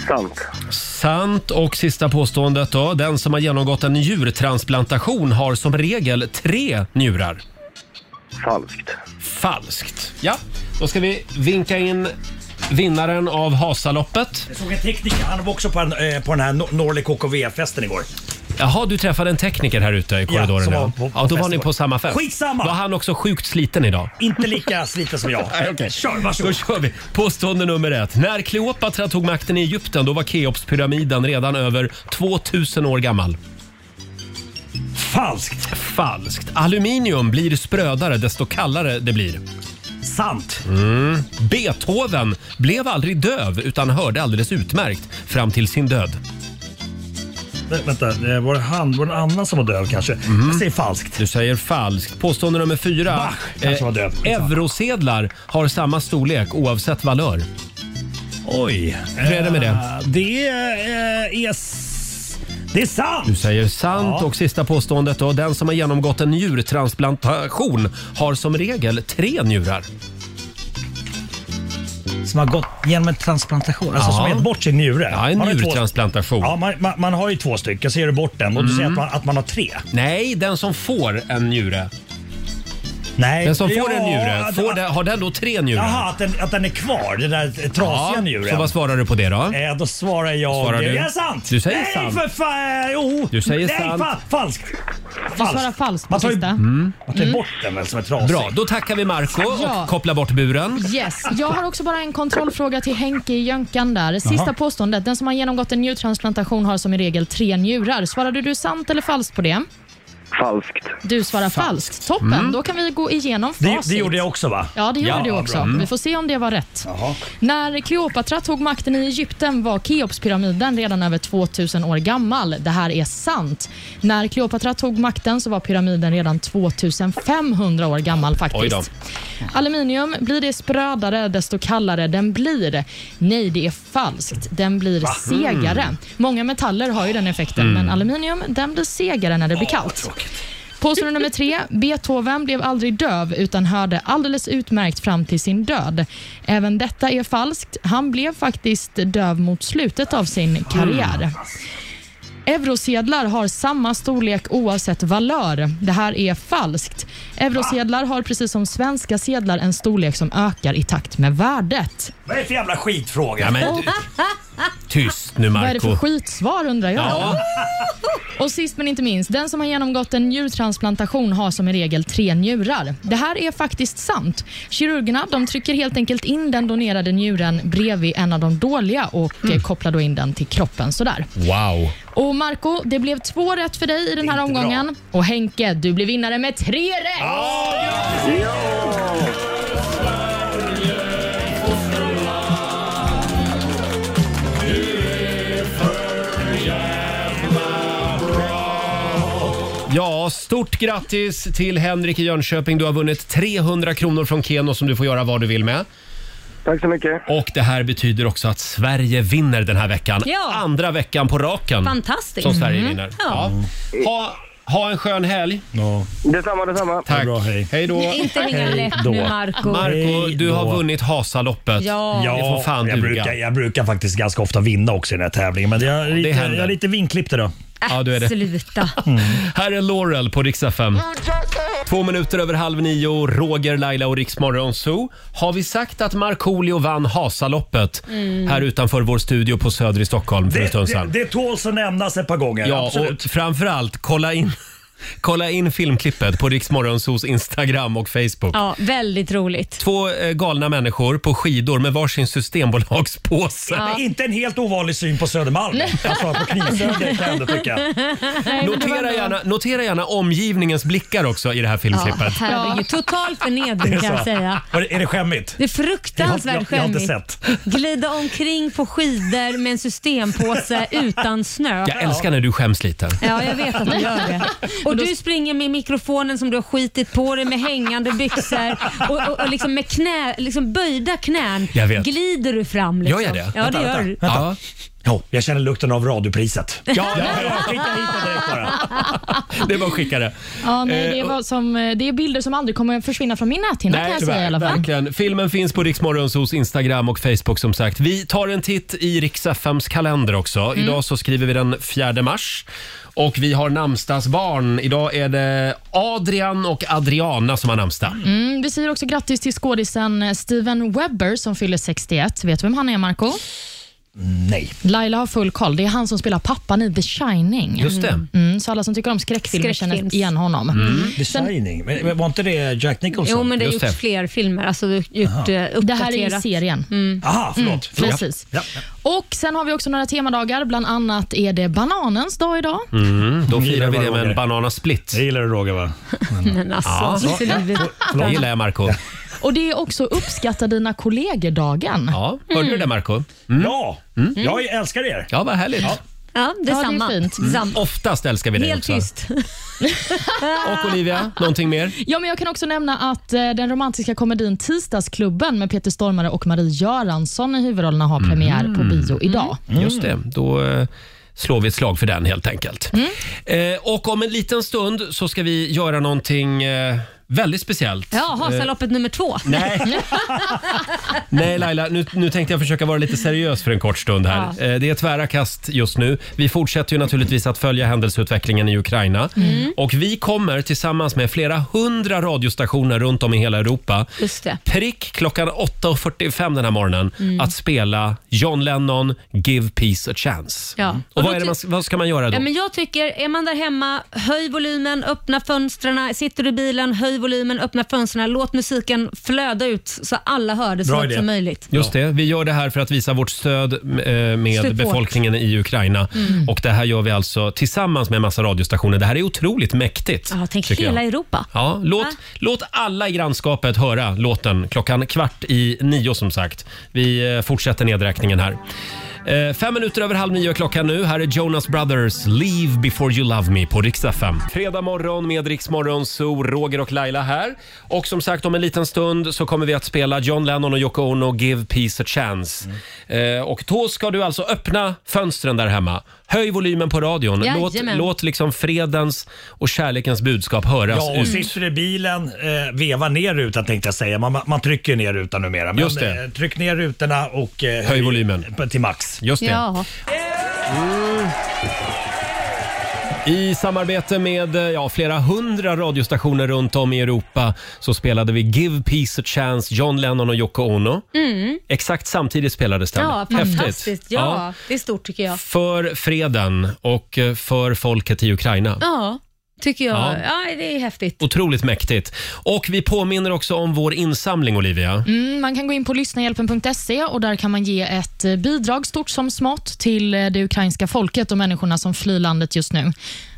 [SPEAKER 11] Sant.
[SPEAKER 1] Sant. Och sista påståendet då. Den som har genomgått en njurtransplantation har som regel tre njurar.
[SPEAKER 11] Falskt.
[SPEAKER 1] Falskt. Ja, då ska vi vinka in vinnaren av Hasaloppet.
[SPEAKER 7] Jag såg en tekniker, han var också på, en, eh, på den här Nor- Norli KKV-festen igår.
[SPEAKER 1] Jaha, du träffade en tekniker här ute i korridoren.
[SPEAKER 7] som var
[SPEAKER 1] Ja,
[SPEAKER 7] på- på
[SPEAKER 1] ja då var
[SPEAKER 7] fest
[SPEAKER 1] ni
[SPEAKER 7] igår.
[SPEAKER 1] på samma fest.
[SPEAKER 7] Skitsamma!
[SPEAKER 1] Var han också sjukt sliten idag? [laughs]
[SPEAKER 7] Inte lika sliten som jag.
[SPEAKER 1] Nej, okej.
[SPEAKER 7] Kör,
[SPEAKER 1] Då
[SPEAKER 7] varsågod.
[SPEAKER 1] kör vi. Påstående nummer ett. När Kleopatra tog makten i Egypten då var Keopspyramiden redan över 2000 år gammal.
[SPEAKER 7] Falskt.
[SPEAKER 1] Falskt. Aluminium blir sprödare desto kallare det blir.
[SPEAKER 7] Sant.
[SPEAKER 1] Mm. Beethoven blev aldrig döv utan hörde alldeles utmärkt fram till sin död.
[SPEAKER 7] Vä- Vänta, eh, var det han? Var det en annan som var döv kanske?
[SPEAKER 1] Mm.
[SPEAKER 7] Jag säger falskt.
[SPEAKER 1] Du säger falskt. Påstående nummer fyra. Eh,
[SPEAKER 7] Bach kanske var döv.
[SPEAKER 1] Eurosedlar har samma storlek oavsett valör.
[SPEAKER 7] Oj.
[SPEAKER 1] Hur är det med det?
[SPEAKER 7] Eh, Det eh, är... s- Det är sant!
[SPEAKER 1] Du säger sant och sista påståendet då. Den som har genomgått en njurtransplantation har som regel tre njurar.
[SPEAKER 7] Som har gått genom en transplantation, alltså
[SPEAKER 1] Ja.
[SPEAKER 7] som gett bort sin njure.
[SPEAKER 1] Ja, en
[SPEAKER 7] Man har ju två-
[SPEAKER 1] njurtransplantation.
[SPEAKER 7] Ja, man, man, man har ju två stycken, så ger du bort den och du
[SPEAKER 1] Mm.
[SPEAKER 7] säger att man, att man har tre.
[SPEAKER 1] Nej, den som får en njure.
[SPEAKER 7] Nej.
[SPEAKER 1] Den som får
[SPEAKER 7] Ja,
[SPEAKER 1] en njure,
[SPEAKER 7] att-
[SPEAKER 1] får den, har den då tre njurar?
[SPEAKER 7] Jaha, att den, att den är kvar, den där trasiga njuren.
[SPEAKER 1] Så vad svarar du på det då?
[SPEAKER 7] Eh, då svarar jag...
[SPEAKER 1] Svarar
[SPEAKER 7] det
[SPEAKER 1] du?
[SPEAKER 7] är sant!
[SPEAKER 1] Du säger
[SPEAKER 7] Nej,
[SPEAKER 1] sant.
[SPEAKER 7] för fan! eh, Jo!
[SPEAKER 1] Du säger
[SPEAKER 7] Nej,
[SPEAKER 1] sant.
[SPEAKER 7] Fa falskt! Falskt.
[SPEAKER 3] svarar falskt på
[SPEAKER 7] man tar ju,
[SPEAKER 3] sista.
[SPEAKER 7] Man tar ju
[SPEAKER 3] Mm.
[SPEAKER 7] bort den väl som är trasig.
[SPEAKER 1] Bra, då tackar vi Marco och
[SPEAKER 3] Ja.
[SPEAKER 1] kopplar bort buren.
[SPEAKER 3] Yes. Jag har också bara en kontrollfråga till Henke i Jönkan där. Sista
[SPEAKER 1] Jaha.
[SPEAKER 3] påståendet. Den som har genomgått en njurtransplantation har som i regel tre njurar. Svarade du sant eller falskt på det?
[SPEAKER 11] Falskt.
[SPEAKER 3] Du svarar falskt. Toppen,
[SPEAKER 11] Mm.
[SPEAKER 3] då kan vi gå igenom
[SPEAKER 7] Det,
[SPEAKER 3] facit.
[SPEAKER 7] det gjorde jag också va?
[SPEAKER 3] Ja, det gjorde du också.
[SPEAKER 7] bra.
[SPEAKER 3] Vi får se om det var rätt.
[SPEAKER 7] Jaha.
[SPEAKER 3] När Kleopatra tog makten i Egypten var Keopspyramiden redan över 2000 år gammal. Det här är sant. När Kleopatra tog makten så var pyramiden redan 2500 år gammal faktiskt.
[SPEAKER 1] Oj då.
[SPEAKER 3] Aluminium, blir det sprödare desto kallare den blir? Nej, det är falskt. Den blir
[SPEAKER 1] Va?
[SPEAKER 3] segare.
[SPEAKER 1] Mm.
[SPEAKER 3] Många metaller har ju den effekten,
[SPEAKER 1] Mm.
[SPEAKER 3] men aluminium den blir segare när det blir kallt. Påstående nummer tre. Beethoven blev aldrig döv utan hörde alldeles utmärkt fram till sin död. Även detta är falskt. Han blev faktiskt döv mot slutet av sin karriär. Eurosedlar har samma storlek oavsett valör. Det här är falskt. Eurosedlar har precis som svenska sedlar en storlek som ökar i takt med värdet.
[SPEAKER 7] Vad är det för jävla skitfråga?
[SPEAKER 1] Ja,
[SPEAKER 3] [laughs]
[SPEAKER 1] men, tyst nu
[SPEAKER 3] Vad är det för
[SPEAKER 1] Marco
[SPEAKER 3] skitsvar undrar jag?
[SPEAKER 1] Ja.
[SPEAKER 3] Och sist men inte minst, den som har genomgått en njurtransplantation har som i regel tre njurar. Det här är faktiskt sant. Kirurgerna de trycker helt enkelt in den donerade njuren bredvid en av de dåliga och eh, kopplar då in den till kroppen sådär.
[SPEAKER 1] Wow.
[SPEAKER 3] Och Marco, det blev två rätt för dig i den här omgången. Och Henke, du blir vinnare med tre rätt!
[SPEAKER 1] Ja, stort grattis till Henrik i Jönköping. Du har vunnit 300 kronor från Keno som du får göra vad du vill med.
[SPEAKER 11] Tack så mycket.
[SPEAKER 1] Och det här betyder också att Sverige vinner den här veckan.
[SPEAKER 2] Ja.
[SPEAKER 1] Andra veckan på raken
[SPEAKER 2] Fantastiskt.
[SPEAKER 1] som Sverige
[SPEAKER 2] Mm.
[SPEAKER 1] vinner.
[SPEAKER 2] Ja.
[SPEAKER 1] Ha, ha en skön helg. Ja.
[SPEAKER 11] Detsamma, detsamma.
[SPEAKER 1] Tack. hej. då.
[SPEAKER 2] Inte ringa Hej lätt nu, då. Marco.
[SPEAKER 1] Marco,
[SPEAKER 7] Hej
[SPEAKER 1] du
[SPEAKER 7] då.
[SPEAKER 1] har vunnit Hasaloppet.
[SPEAKER 2] Ja.
[SPEAKER 1] Det får fan
[SPEAKER 7] jag,
[SPEAKER 1] duga.
[SPEAKER 7] brukar, jag brukar faktiskt ganska ofta vinna också i den här tävlingen, men jag är lite,
[SPEAKER 1] händer.
[SPEAKER 7] jag är lite vinklippt idag.
[SPEAKER 1] Ja, du är det. Mm.
[SPEAKER 2] Sluta.
[SPEAKER 1] Här är Laurel på Rix FM. Två minuter över halv nio, Roger, Laila och Rix Morgon Zoo. Har vi sagt att Markoolio vann Hasaloppet
[SPEAKER 7] Mm.
[SPEAKER 1] här utanför vår studio på Söder i Stockholm för en
[SPEAKER 7] Det,
[SPEAKER 1] stund
[SPEAKER 7] det,
[SPEAKER 1] sedan?
[SPEAKER 7] det tåls att nämnas ett par gånger.
[SPEAKER 1] Ja,
[SPEAKER 7] absolut.
[SPEAKER 1] och framförallt kolla in, [laughs] kolla in filmklippet på Rix Morgon Zoos Instagram och Facebook.
[SPEAKER 2] Ja, väldigt roligt.
[SPEAKER 1] Två eh, galna människor på skidor med varsin systembolagspåse.
[SPEAKER 7] Men Inte en helt ovanlig syn på Södermalm. Alltså på Knivsöder kan jag
[SPEAKER 2] [laughs]
[SPEAKER 7] ändå tycka.
[SPEAKER 1] Notera gärna, notera gärna omgivningens blickar också i det här filmklippet.
[SPEAKER 2] Ja, herregud. Total förnedring kan jag säga.
[SPEAKER 1] Är det skämmigt?
[SPEAKER 2] Det är fruktansvärt
[SPEAKER 1] Jag- jag- jag har
[SPEAKER 2] skämmigt.
[SPEAKER 1] inte
[SPEAKER 2] Glida omkring på skidor med en systempåse utan snö.
[SPEAKER 1] Jag älskar när du skäms lite.
[SPEAKER 2] Ja, jag vet att du gör det. Och du springer med mikrofonen som du har skitit på dig med hängande byxor och, och, och liksom med knä, liksom böjda knän
[SPEAKER 7] Jag vet.
[SPEAKER 2] glider du fram. Liksom. Ja, det gör du.
[SPEAKER 7] Ja. Ja, jag känner lukten av
[SPEAKER 2] [laughs]
[SPEAKER 7] radiopriset.
[SPEAKER 1] Ja,
[SPEAKER 7] skicka hit den direkt bara.
[SPEAKER 2] Mm.
[SPEAKER 1] Det var skickare.
[SPEAKER 3] Ja, nej,
[SPEAKER 1] Eh,
[SPEAKER 3] det,
[SPEAKER 1] och-
[SPEAKER 3] var som, eh, det är bilder som aldrig kommer att försvinna från min näthinna kan jag säga i alla fall.
[SPEAKER 1] verkligen. Filmen finns på Riksmorgonsos Instagram och Facebook som sagt. Vi tar en titt i Riks-FMs kalender också.
[SPEAKER 3] Mm.
[SPEAKER 1] Idag så skriver vi den 4 mars. Och vi har namnsdagsbarn. Idag är det Adrian och Adriana som har namnsdag.
[SPEAKER 3] Mm, vi säger också grattis till skådisen eh, Steven Webber som fyller 61. Vet du vem han är, Marco?
[SPEAKER 7] Nej.
[SPEAKER 3] Laila har full koll. Det är han som spelar pappan i The Shining.
[SPEAKER 7] Just det.
[SPEAKER 3] Mm, så alla som tycker om skräckfilmer känner
[SPEAKER 2] Skräckfilms.
[SPEAKER 3] igen honom.
[SPEAKER 7] The Shining. Men, men var inte det Jack Nicholson?
[SPEAKER 2] Jo, men det har gjorts fler filmer. Alltså, du har gjort,
[SPEAKER 7] Aha.
[SPEAKER 2] eh,
[SPEAKER 3] Det här är ju
[SPEAKER 2] uppdaterat.
[SPEAKER 3] serien.
[SPEAKER 2] Mm.
[SPEAKER 7] Aha, förlåt.
[SPEAKER 3] Mm,
[SPEAKER 7] förlåt.
[SPEAKER 3] precis.
[SPEAKER 7] Ja.
[SPEAKER 3] Och Sen har vi också några temadagar. Bland annat är det bananens dag idag.
[SPEAKER 1] Mm, då
[SPEAKER 7] Gillar
[SPEAKER 1] firar vi
[SPEAKER 7] vad
[SPEAKER 1] det med en
[SPEAKER 7] Roger.
[SPEAKER 1] bananasplitt. Det
[SPEAKER 7] gillar du Roger va?
[SPEAKER 2] Men alltså, [laughs]
[SPEAKER 1] Ja,
[SPEAKER 2] för livet.
[SPEAKER 1] det gillar jag Marco
[SPEAKER 3] Och Det är också uppskatta dina kollegor-dagen.
[SPEAKER 1] Ja, Hörde du det Marco
[SPEAKER 2] Mm.
[SPEAKER 7] Ja, jag älskar er.
[SPEAKER 1] Ja, vad härligt.
[SPEAKER 7] Ja.
[SPEAKER 2] Ja, detsamma.
[SPEAKER 3] Ja, det är fint.
[SPEAKER 1] Mm. Oftast älskar vi dig
[SPEAKER 3] Helt
[SPEAKER 1] också. [laughs]
[SPEAKER 3] tyst.
[SPEAKER 1] Och Olivia, någonting mer?
[SPEAKER 3] Ja, men jag kan också nämna att eh, den romantiska komedin Tisdagsklubben med Peter Stormare och Marie Göransson i huvudrollerna har premiär på bio idag.
[SPEAKER 1] Just
[SPEAKER 2] Mm.
[SPEAKER 1] det, då eh, slår vi ett slag för den helt enkelt.
[SPEAKER 2] Mm.
[SPEAKER 1] Eh, och om en liten stund så ska vi göra någonting eh, väldigt speciellt.
[SPEAKER 2] Ja, Hasaloppet nummer två. [laughs]
[SPEAKER 1] Nej. Nej Laila, nu, nu tänkte jag försöka vara lite seriös för en kort stund här.
[SPEAKER 2] Ja.
[SPEAKER 1] Eh, Det är tvära kast just nu. Vi fortsätter ju naturligtvis att följa händelseutvecklingen i Ukraina.
[SPEAKER 2] Mm.
[SPEAKER 1] Och vi kommer tillsammans med flera hundra radiostationer runt om i hela Europa
[SPEAKER 2] Just det.
[SPEAKER 1] prick klockan 8.45 den här morgonen
[SPEAKER 2] Mm.
[SPEAKER 1] att spela John Lennon Give Peace a Chance. Mm.
[SPEAKER 2] Ja.
[SPEAKER 1] Och
[SPEAKER 2] Och
[SPEAKER 1] vad,
[SPEAKER 2] då
[SPEAKER 1] är det
[SPEAKER 2] ty-
[SPEAKER 1] man, vad ska man göra då?
[SPEAKER 2] Ja, men jag tycker, är man där hemma, höj volymen, öppna fönstren, sitter du i bilen, höj volymen, öppna fönstren, låt musiken flöda ut så alla hör det så
[SPEAKER 1] Bra
[SPEAKER 2] långt
[SPEAKER 1] idé.
[SPEAKER 2] som möjligt.
[SPEAKER 1] Just det, vi gör det här för att visa vårt stöd eh, med
[SPEAKER 2] Support.
[SPEAKER 1] befolkningen i Ukraina.
[SPEAKER 2] Mm.
[SPEAKER 1] Och det här gör vi alltså tillsammans med en massa radiostationer. Det här är otroligt mäktigt.
[SPEAKER 2] Ja, tänk
[SPEAKER 1] tycker jag.
[SPEAKER 2] hela Europa.
[SPEAKER 1] Ja, låt,
[SPEAKER 2] Va?
[SPEAKER 1] låt alla i grannskapet höra låten klockan kvart i nio som sagt. Vi eh, fortsätter nedräkningen här. Eh, fem minuter över halv nio är klockan nu. Här är Jonas Brothers Leave before you love me på riksdag 5. Fredag morgon med Rix Morgon, så Roger och Laila här. Och som sagt om en liten stund så kommer vi att spela John Lennon och Yoko Ono Give Peace a Chance.
[SPEAKER 2] Mm.
[SPEAKER 1] Eh, och då ska du alltså öppna fönstren där hemma. Höj volymen på radion. Låt,
[SPEAKER 2] Jajamän.
[SPEAKER 1] låt liksom fredens och kärlekens budskap höras
[SPEAKER 7] Ja, och
[SPEAKER 1] ut.
[SPEAKER 7] sitter i bilen, eh, veva ner rutan tänkte jag säga. Man, man trycker ner rutan numera. Men,
[SPEAKER 1] Just det.
[SPEAKER 7] eh, tryck ner rutorna och eh,
[SPEAKER 1] Höj volymen.
[SPEAKER 7] till max.
[SPEAKER 1] Just det.
[SPEAKER 7] Ja.
[SPEAKER 1] I samarbete med eh, ja, flera hundra radiostationer runt om i Europa så spelade vi Give Peace a Chance, John Lennon och Yoko Ono.
[SPEAKER 2] Mm.
[SPEAKER 1] Exakt samtidigt spelades den.
[SPEAKER 2] Ja, fantastiskt. Ja, det är stort tycker jag.
[SPEAKER 1] För freden och eh, för folket i Ukraina.
[SPEAKER 2] Ja, tycker jag.
[SPEAKER 1] Ja.
[SPEAKER 2] Ja, det är häftigt.
[SPEAKER 1] Otroligt mäktigt. Och vi påminner också om vår insamling, Olivia.
[SPEAKER 3] Mm, man kan gå in på lyssnahjälpen.se och där kan man ge ett eh, bidrag, stort som smått, till eh, det ukrainska folket och människorna som flyr landet just nu.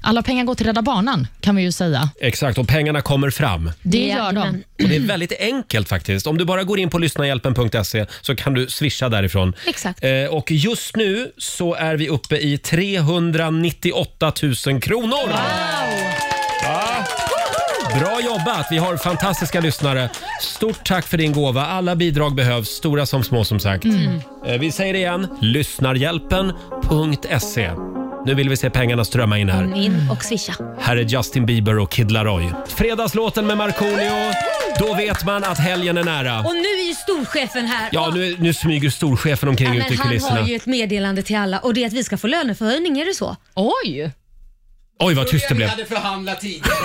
[SPEAKER 3] Alla pengar går till Rädda Barnen, kan vi ju säga.
[SPEAKER 1] Exakt, och pengarna kommer fram.
[SPEAKER 3] Det gör de.
[SPEAKER 1] Och det är väldigt enkelt faktiskt. Om du bara går in på lyssnahjälpen.se så kan du swisha därifrån.
[SPEAKER 2] Exakt.
[SPEAKER 1] Eh, och just nu så är vi uppe i 398 000 kronor. Ja. Bra jobbat! Vi har fantastiska lyssnare. Stort tack för din gåva. Alla bidrag behövs, stora som små som sagt.
[SPEAKER 13] Mm.
[SPEAKER 1] Eh, Vi säger det igen, lyssnarhjälpen.se. Nu vill vi se pengarna strömma in här.
[SPEAKER 2] In och swisha.
[SPEAKER 1] Här är Justin Bieber och Kid Laroi. Fredagslåten med Markoolio. Då vet man att helgen är nära.
[SPEAKER 2] Och nu är ju storchefen här.
[SPEAKER 1] Ja, nu, nu smyger storchefen omkring
[SPEAKER 2] Ja,
[SPEAKER 1] ute i
[SPEAKER 2] men han har
[SPEAKER 1] kulisserna.
[SPEAKER 2] ju ett meddelande till alla och det är att vi ska få löneförhöjning, är det så?
[SPEAKER 3] Oj!
[SPEAKER 1] Oj, vad tyst det blev.
[SPEAKER 14] förhandlat tidigare.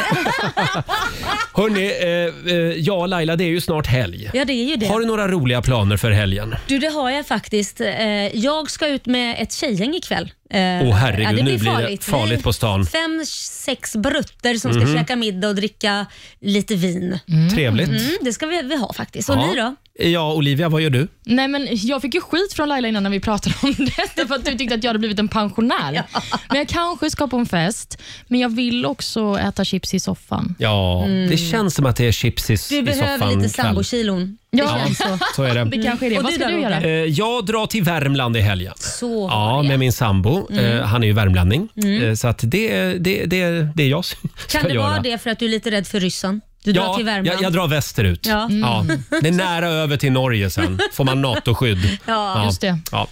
[SPEAKER 1] [laughs] Hörni, eh, eh, ja Laila, det är ju snart helg.
[SPEAKER 2] Ja, det är ju det.
[SPEAKER 1] Har du några roliga planer för helgen?
[SPEAKER 2] Du, det har jag faktiskt. Eh, Jag ska ut med ett tjejgäng ikväll. Eh, Åh
[SPEAKER 1] Åh, herregud, nu blir det farligt på stan.
[SPEAKER 2] Fem, sex brutter som ska
[SPEAKER 1] Mhm.
[SPEAKER 2] käka middag och dricka lite vin.
[SPEAKER 1] Trevligt.
[SPEAKER 2] Mm, det ska vi, vi ha faktiskt. Och ni då?
[SPEAKER 1] Ja, Olivia, vad gör du?
[SPEAKER 3] Nej, men jag fick ju skit från Laila innan när vi pratade om [laughs] detta för att du tyckte att jag hade blivit en pensionär. Men jag kanske ska på en fest, men jag vill också äta chips i soffan.
[SPEAKER 1] Ja,
[SPEAKER 3] Mm.
[SPEAKER 1] det känns som att det är chips i,
[SPEAKER 2] Du
[SPEAKER 1] i
[SPEAKER 2] behöver
[SPEAKER 1] soffan
[SPEAKER 2] lite alltså.
[SPEAKER 1] kväll.
[SPEAKER 2] sambokilon.
[SPEAKER 1] Ja, så
[SPEAKER 2] [laughs]
[SPEAKER 1] är det.
[SPEAKER 3] Det kanske är det.
[SPEAKER 2] Mm. Och
[SPEAKER 3] Vad ska
[SPEAKER 2] där,
[SPEAKER 3] du göra?
[SPEAKER 2] Roger?
[SPEAKER 1] Eh, Jag drar till Värmland i helgen.
[SPEAKER 2] Så
[SPEAKER 1] Ja, med min sambo.
[SPEAKER 2] Mm.
[SPEAKER 1] Eh, Han är ju värmlänning.
[SPEAKER 2] Mm.
[SPEAKER 1] Eh, Så att det, det, det, det är jag som ska
[SPEAKER 2] Kan det
[SPEAKER 1] göra.
[SPEAKER 2] vara det för att du är lite rädd för ryssen? Du
[SPEAKER 1] ja,
[SPEAKER 2] drar till Värmland.
[SPEAKER 1] Jag, jag drar västerut.
[SPEAKER 2] Ja.
[SPEAKER 1] Ja.
[SPEAKER 2] Mm.
[SPEAKER 1] Det är nära över till Norge sen. Får man NATO-skydd.
[SPEAKER 2] [laughs] Ja, just det.
[SPEAKER 1] Ja.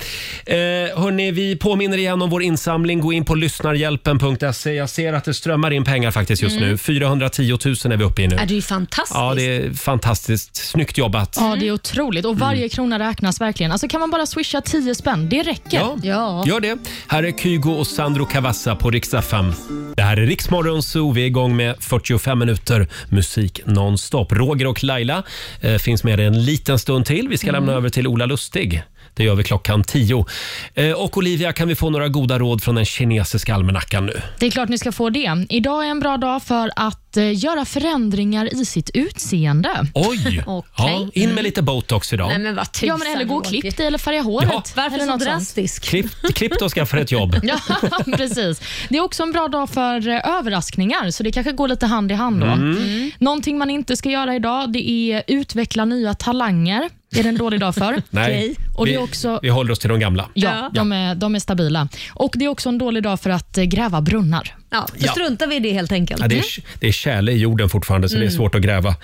[SPEAKER 1] Eh, hörni, vi påminner igen om vår insamling. Gå in på lyssnarhjälpen.se. Jag ser att det strömmar in pengar faktiskt just
[SPEAKER 2] Mm.
[SPEAKER 1] nu. 410 000 är vi uppe i nu.
[SPEAKER 2] Är du är ju fantastisk.
[SPEAKER 1] Ja, det är fantastiskt. Snyggt jobbat.
[SPEAKER 3] Ja,
[SPEAKER 2] Mm.
[SPEAKER 3] det är otroligt. Och
[SPEAKER 1] Mm.
[SPEAKER 3] varje krona räknas verkligen. Alltså kan man bara swisha 10 spänn? Det räcker.
[SPEAKER 1] Ja, Gör det. Här är Kygo och Sandro Cavazza på riksdag 5. Det här är Riksmorgon Zoo. Vi är igång med 45 minuter musik nonstop. Roger och Laila eh, finns med dig en liten stund till. Vi ska
[SPEAKER 3] Mm.
[SPEAKER 1] lämna över till Ola Lustig. Det gör vi klockan 10. Eh, och Olivia, kan vi få några goda råd från den kinesiska almanackan nu?
[SPEAKER 3] Det är klart ni ska få det. Idag är en bra dag för att eh, göra förändringar i sitt utseende.
[SPEAKER 1] Oj! [laughs] Ja, in med
[SPEAKER 3] Mm.
[SPEAKER 1] lite botox idag.
[SPEAKER 2] vad
[SPEAKER 1] tusan,
[SPEAKER 3] Ja, men eller gå och klipp dig eller färga håret.
[SPEAKER 1] Ja.
[SPEAKER 2] Varför
[SPEAKER 3] eller
[SPEAKER 2] så
[SPEAKER 3] något sånt.
[SPEAKER 2] drastisk?
[SPEAKER 1] Klipp, klipp dig och skaffa dig ett
[SPEAKER 3] [laughs]
[SPEAKER 1] jobb.
[SPEAKER 3] Ja, precis. Det är också en bra dag för eh, överraskningar, så det kanske går lite hand i hand. Då.
[SPEAKER 1] Mm.
[SPEAKER 3] Någonting man inte ska göra idag det är utveckla nya talanger. Det är det en dålig dag för.
[SPEAKER 1] [laughs] Nej,
[SPEAKER 3] Och det är
[SPEAKER 1] vi,
[SPEAKER 3] också...
[SPEAKER 1] vi håller oss till de gamla.
[SPEAKER 3] Ja, de är, de är stabila. Och Det är också en dålig dag för att eh, gräva brunnar.
[SPEAKER 2] Ja,
[SPEAKER 1] då Ja.
[SPEAKER 2] struntar vi i det helt enkelt.
[SPEAKER 1] Ja, det, är, det är kärle i jorden fortfarande, så det är
[SPEAKER 2] Mm.
[SPEAKER 1] svårt att gräva.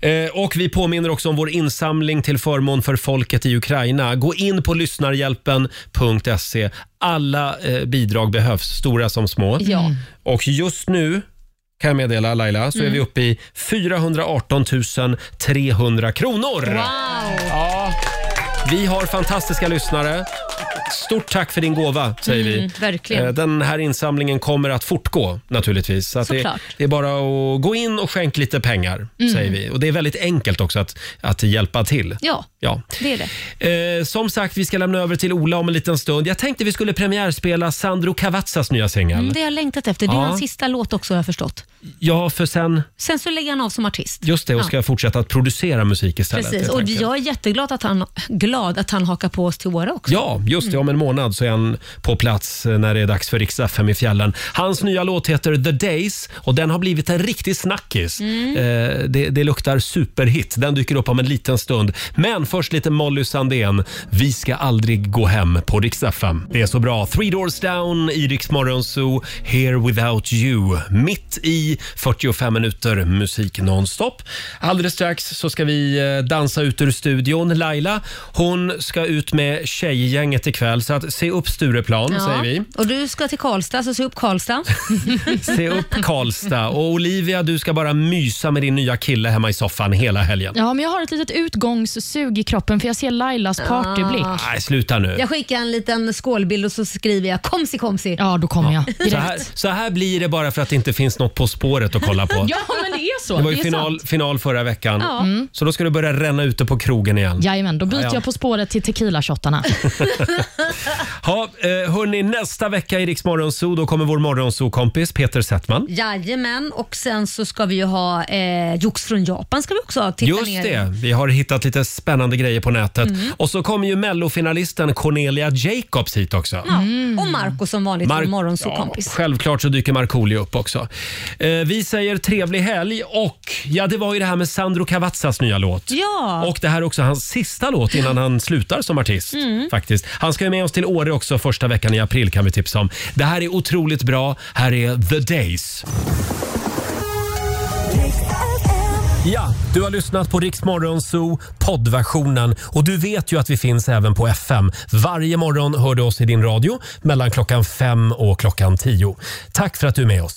[SPEAKER 1] Eh, och Vi påminner också om vår insamling till förmån för folket i Ukraina. Gå in på lyssnarhjälpen.se. Alla eh, bidrag behövs, stora som små.
[SPEAKER 3] Mm.
[SPEAKER 2] Ja.
[SPEAKER 1] Och just nu kan jag meddela Laila, så är
[SPEAKER 2] Mm.
[SPEAKER 1] vi uppe i 418 300 kronor.
[SPEAKER 2] Wow!
[SPEAKER 1] Vi har fantastiska lyssnare Stort tack för din gåva, säger
[SPEAKER 2] Mm,
[SPEAKER 1] vi.
[SPEAKER 2] verkligen.
[SPEAKER 1] Eh, Den här insamlingen kommer att fortgå naturligtvis. Så att det,
[SPEAKER 2] Såklart.
[SPEAKER 1] det är bara att gå in och skänk lite pengar,
[SPEAKER 2] Mm.
[SPEAKER 1] säger vi. Och det är väldigt enkelt också att, att hjälpa till.
[SPEAKER 2] Ja,
[SPEAKER 1] Ja.
[SPEAKER 2] det är det.
[SPEAKER 1] Eh, som sagt, vi ska lämna över till Ola om en liten stund. Jag tänkte vi skulle premiärspela Sandro Cavazzas nya singel.
[SPEAKER 2] Mm, det har jag längtat efter. Det är
[SPEAKER 1] Ja.
[SPEAKER 2] hans sista låt också har jag förstått.
[SPEAKER 1] Ja, för sen,
[SPEAKER 2] Sen så lägger han av som artist.
[SPEAKER 1] just det, och
[SPEAKER 2] Ja.
[SPEAKER 1] ska fortsätta att producera musik istället.
[SPEAKER 2] Precis,
[SPEAKER 1] helt
[SPEAKER 2] och
[SPEAKER 1] enkelt.
[SPEAKER 2] jag är jätteglad att han, glad att han hakar på oss till Åre också.
[SPEAKER 1] Ja, just det. Om en månad så är han på plats eh, när det är dags för riks FM i fjällen. Hans nya låt heter The Days och den har blivit en riktig snackis.
[SPEAKER 13] Mm.
[SPEAKER 1] Eh, det, det luktar superhit. Den dyker upp om en liten stund. Men först lite Molly Sandén. Vi ska aldrig gå hem på riks FM. Det är så bra. Three Doors Down i Rix Morgon Zoo, Here Without You. Mitt i 45 minuter musik nonstop. Alldeles strax så ska vi eh, dansa ut ur studion. Laila, hon ska ut med tjejgänget ikväll så att se upp Stureplan
[SPEAKER 2] Ja.
[SPEAKER 1] säger vi.
[SPEAKER 2] Och du ska till Karlstad, så se
[SPEAKER 1] [laughs]
[SPEAKER 2] upp Karlstad.
[SPEAKER 1] Se upp Karlstad och Olivia, du ska bara mysa med din nya kille hemma i soffan hela helgen.
[SPEAKER 3] Ja, men jag har ett litet utgångssug i kroppen för jag ser Lailas partyblick.
[SPEAKER 1] Nej, sluta nu.
[SPEAKER 2] Jag skickar en liten skålbild och så skriver jag komsi komsi.
[SPEAKER 3] Ja, då kommer jag.
[SPEAKER 1] Så här, så här blir det bara för att det inte finns något På spåret att kolla på.
[SPEAKER 3] Ja, men det är så.
[SPEAKER 1] det var ju
[SPEAKER 3] är
[SPEAKER 1] final,
[SPEAKER 3] sant.
[SPEAKER 1] final förra veckan.
[SPEAKER 3] Ja. Mm.
[SPEAKER 1] Så då ska du börja ränna ute på krogen igen.
[SPEAKER 3] Jajamän, då byter
[SPEAKER 1] Ja, ja.
[SPEAKER 3] jag På spåret till tequila-shottarna.
[SPEAKER 1] Ha, eh, hörni, nästa vecka i Rix Morgonzoo, då kommer vår morgonzoo-kompis Peter Settman.
[SPEAKER 2] Jajamän, och sen så ska vi ju ha eh, jox från Japan ska vi också ha. Titta
[SPEAKER 1] Just
[SPEAKER 2] ner.
[SPEAKER 1] det, vi har hittat lite spännande grejer på nätet.
[SPEAKER 2] Mm.
[SPEAKER 1] Och så kommer ju mellofinalisten Cornelia Jacobs hit också.
[SPEAKER 2] Ja.
[SPEAKER 1] Mm.
[SPEAKER 2] Och Marco som vanligt,
[SPEAKER 1] Mark-
[SPEAKER 2] vår morgonsåkompis.
[SPEAKER 1] Självklart så dyker Markoolio upp också. Eh, vi säger trevlig helg och ja, det var ju det här med Sandro Cavazzas nya låt.
[SPEAKER 2] Ja.
[SPEAKER 1] Och det här är också hans sista låt innan han slutar som artist.
[SPEAKER 2] Mm.
[SPEAKER 1] Faktiskt. Han ska ju med oss till Åre också första veckan i april kan vi tipsa om. Det här är otroligt bra. Här är The Days. Ja, du har lyssnat på Rix Morgon Zoo poddversionen och du vet ju att vi finns även på FM. Varje morgon hör du oss i din radio mellan klockan fem och klockan tio. Tack för att du är med oss.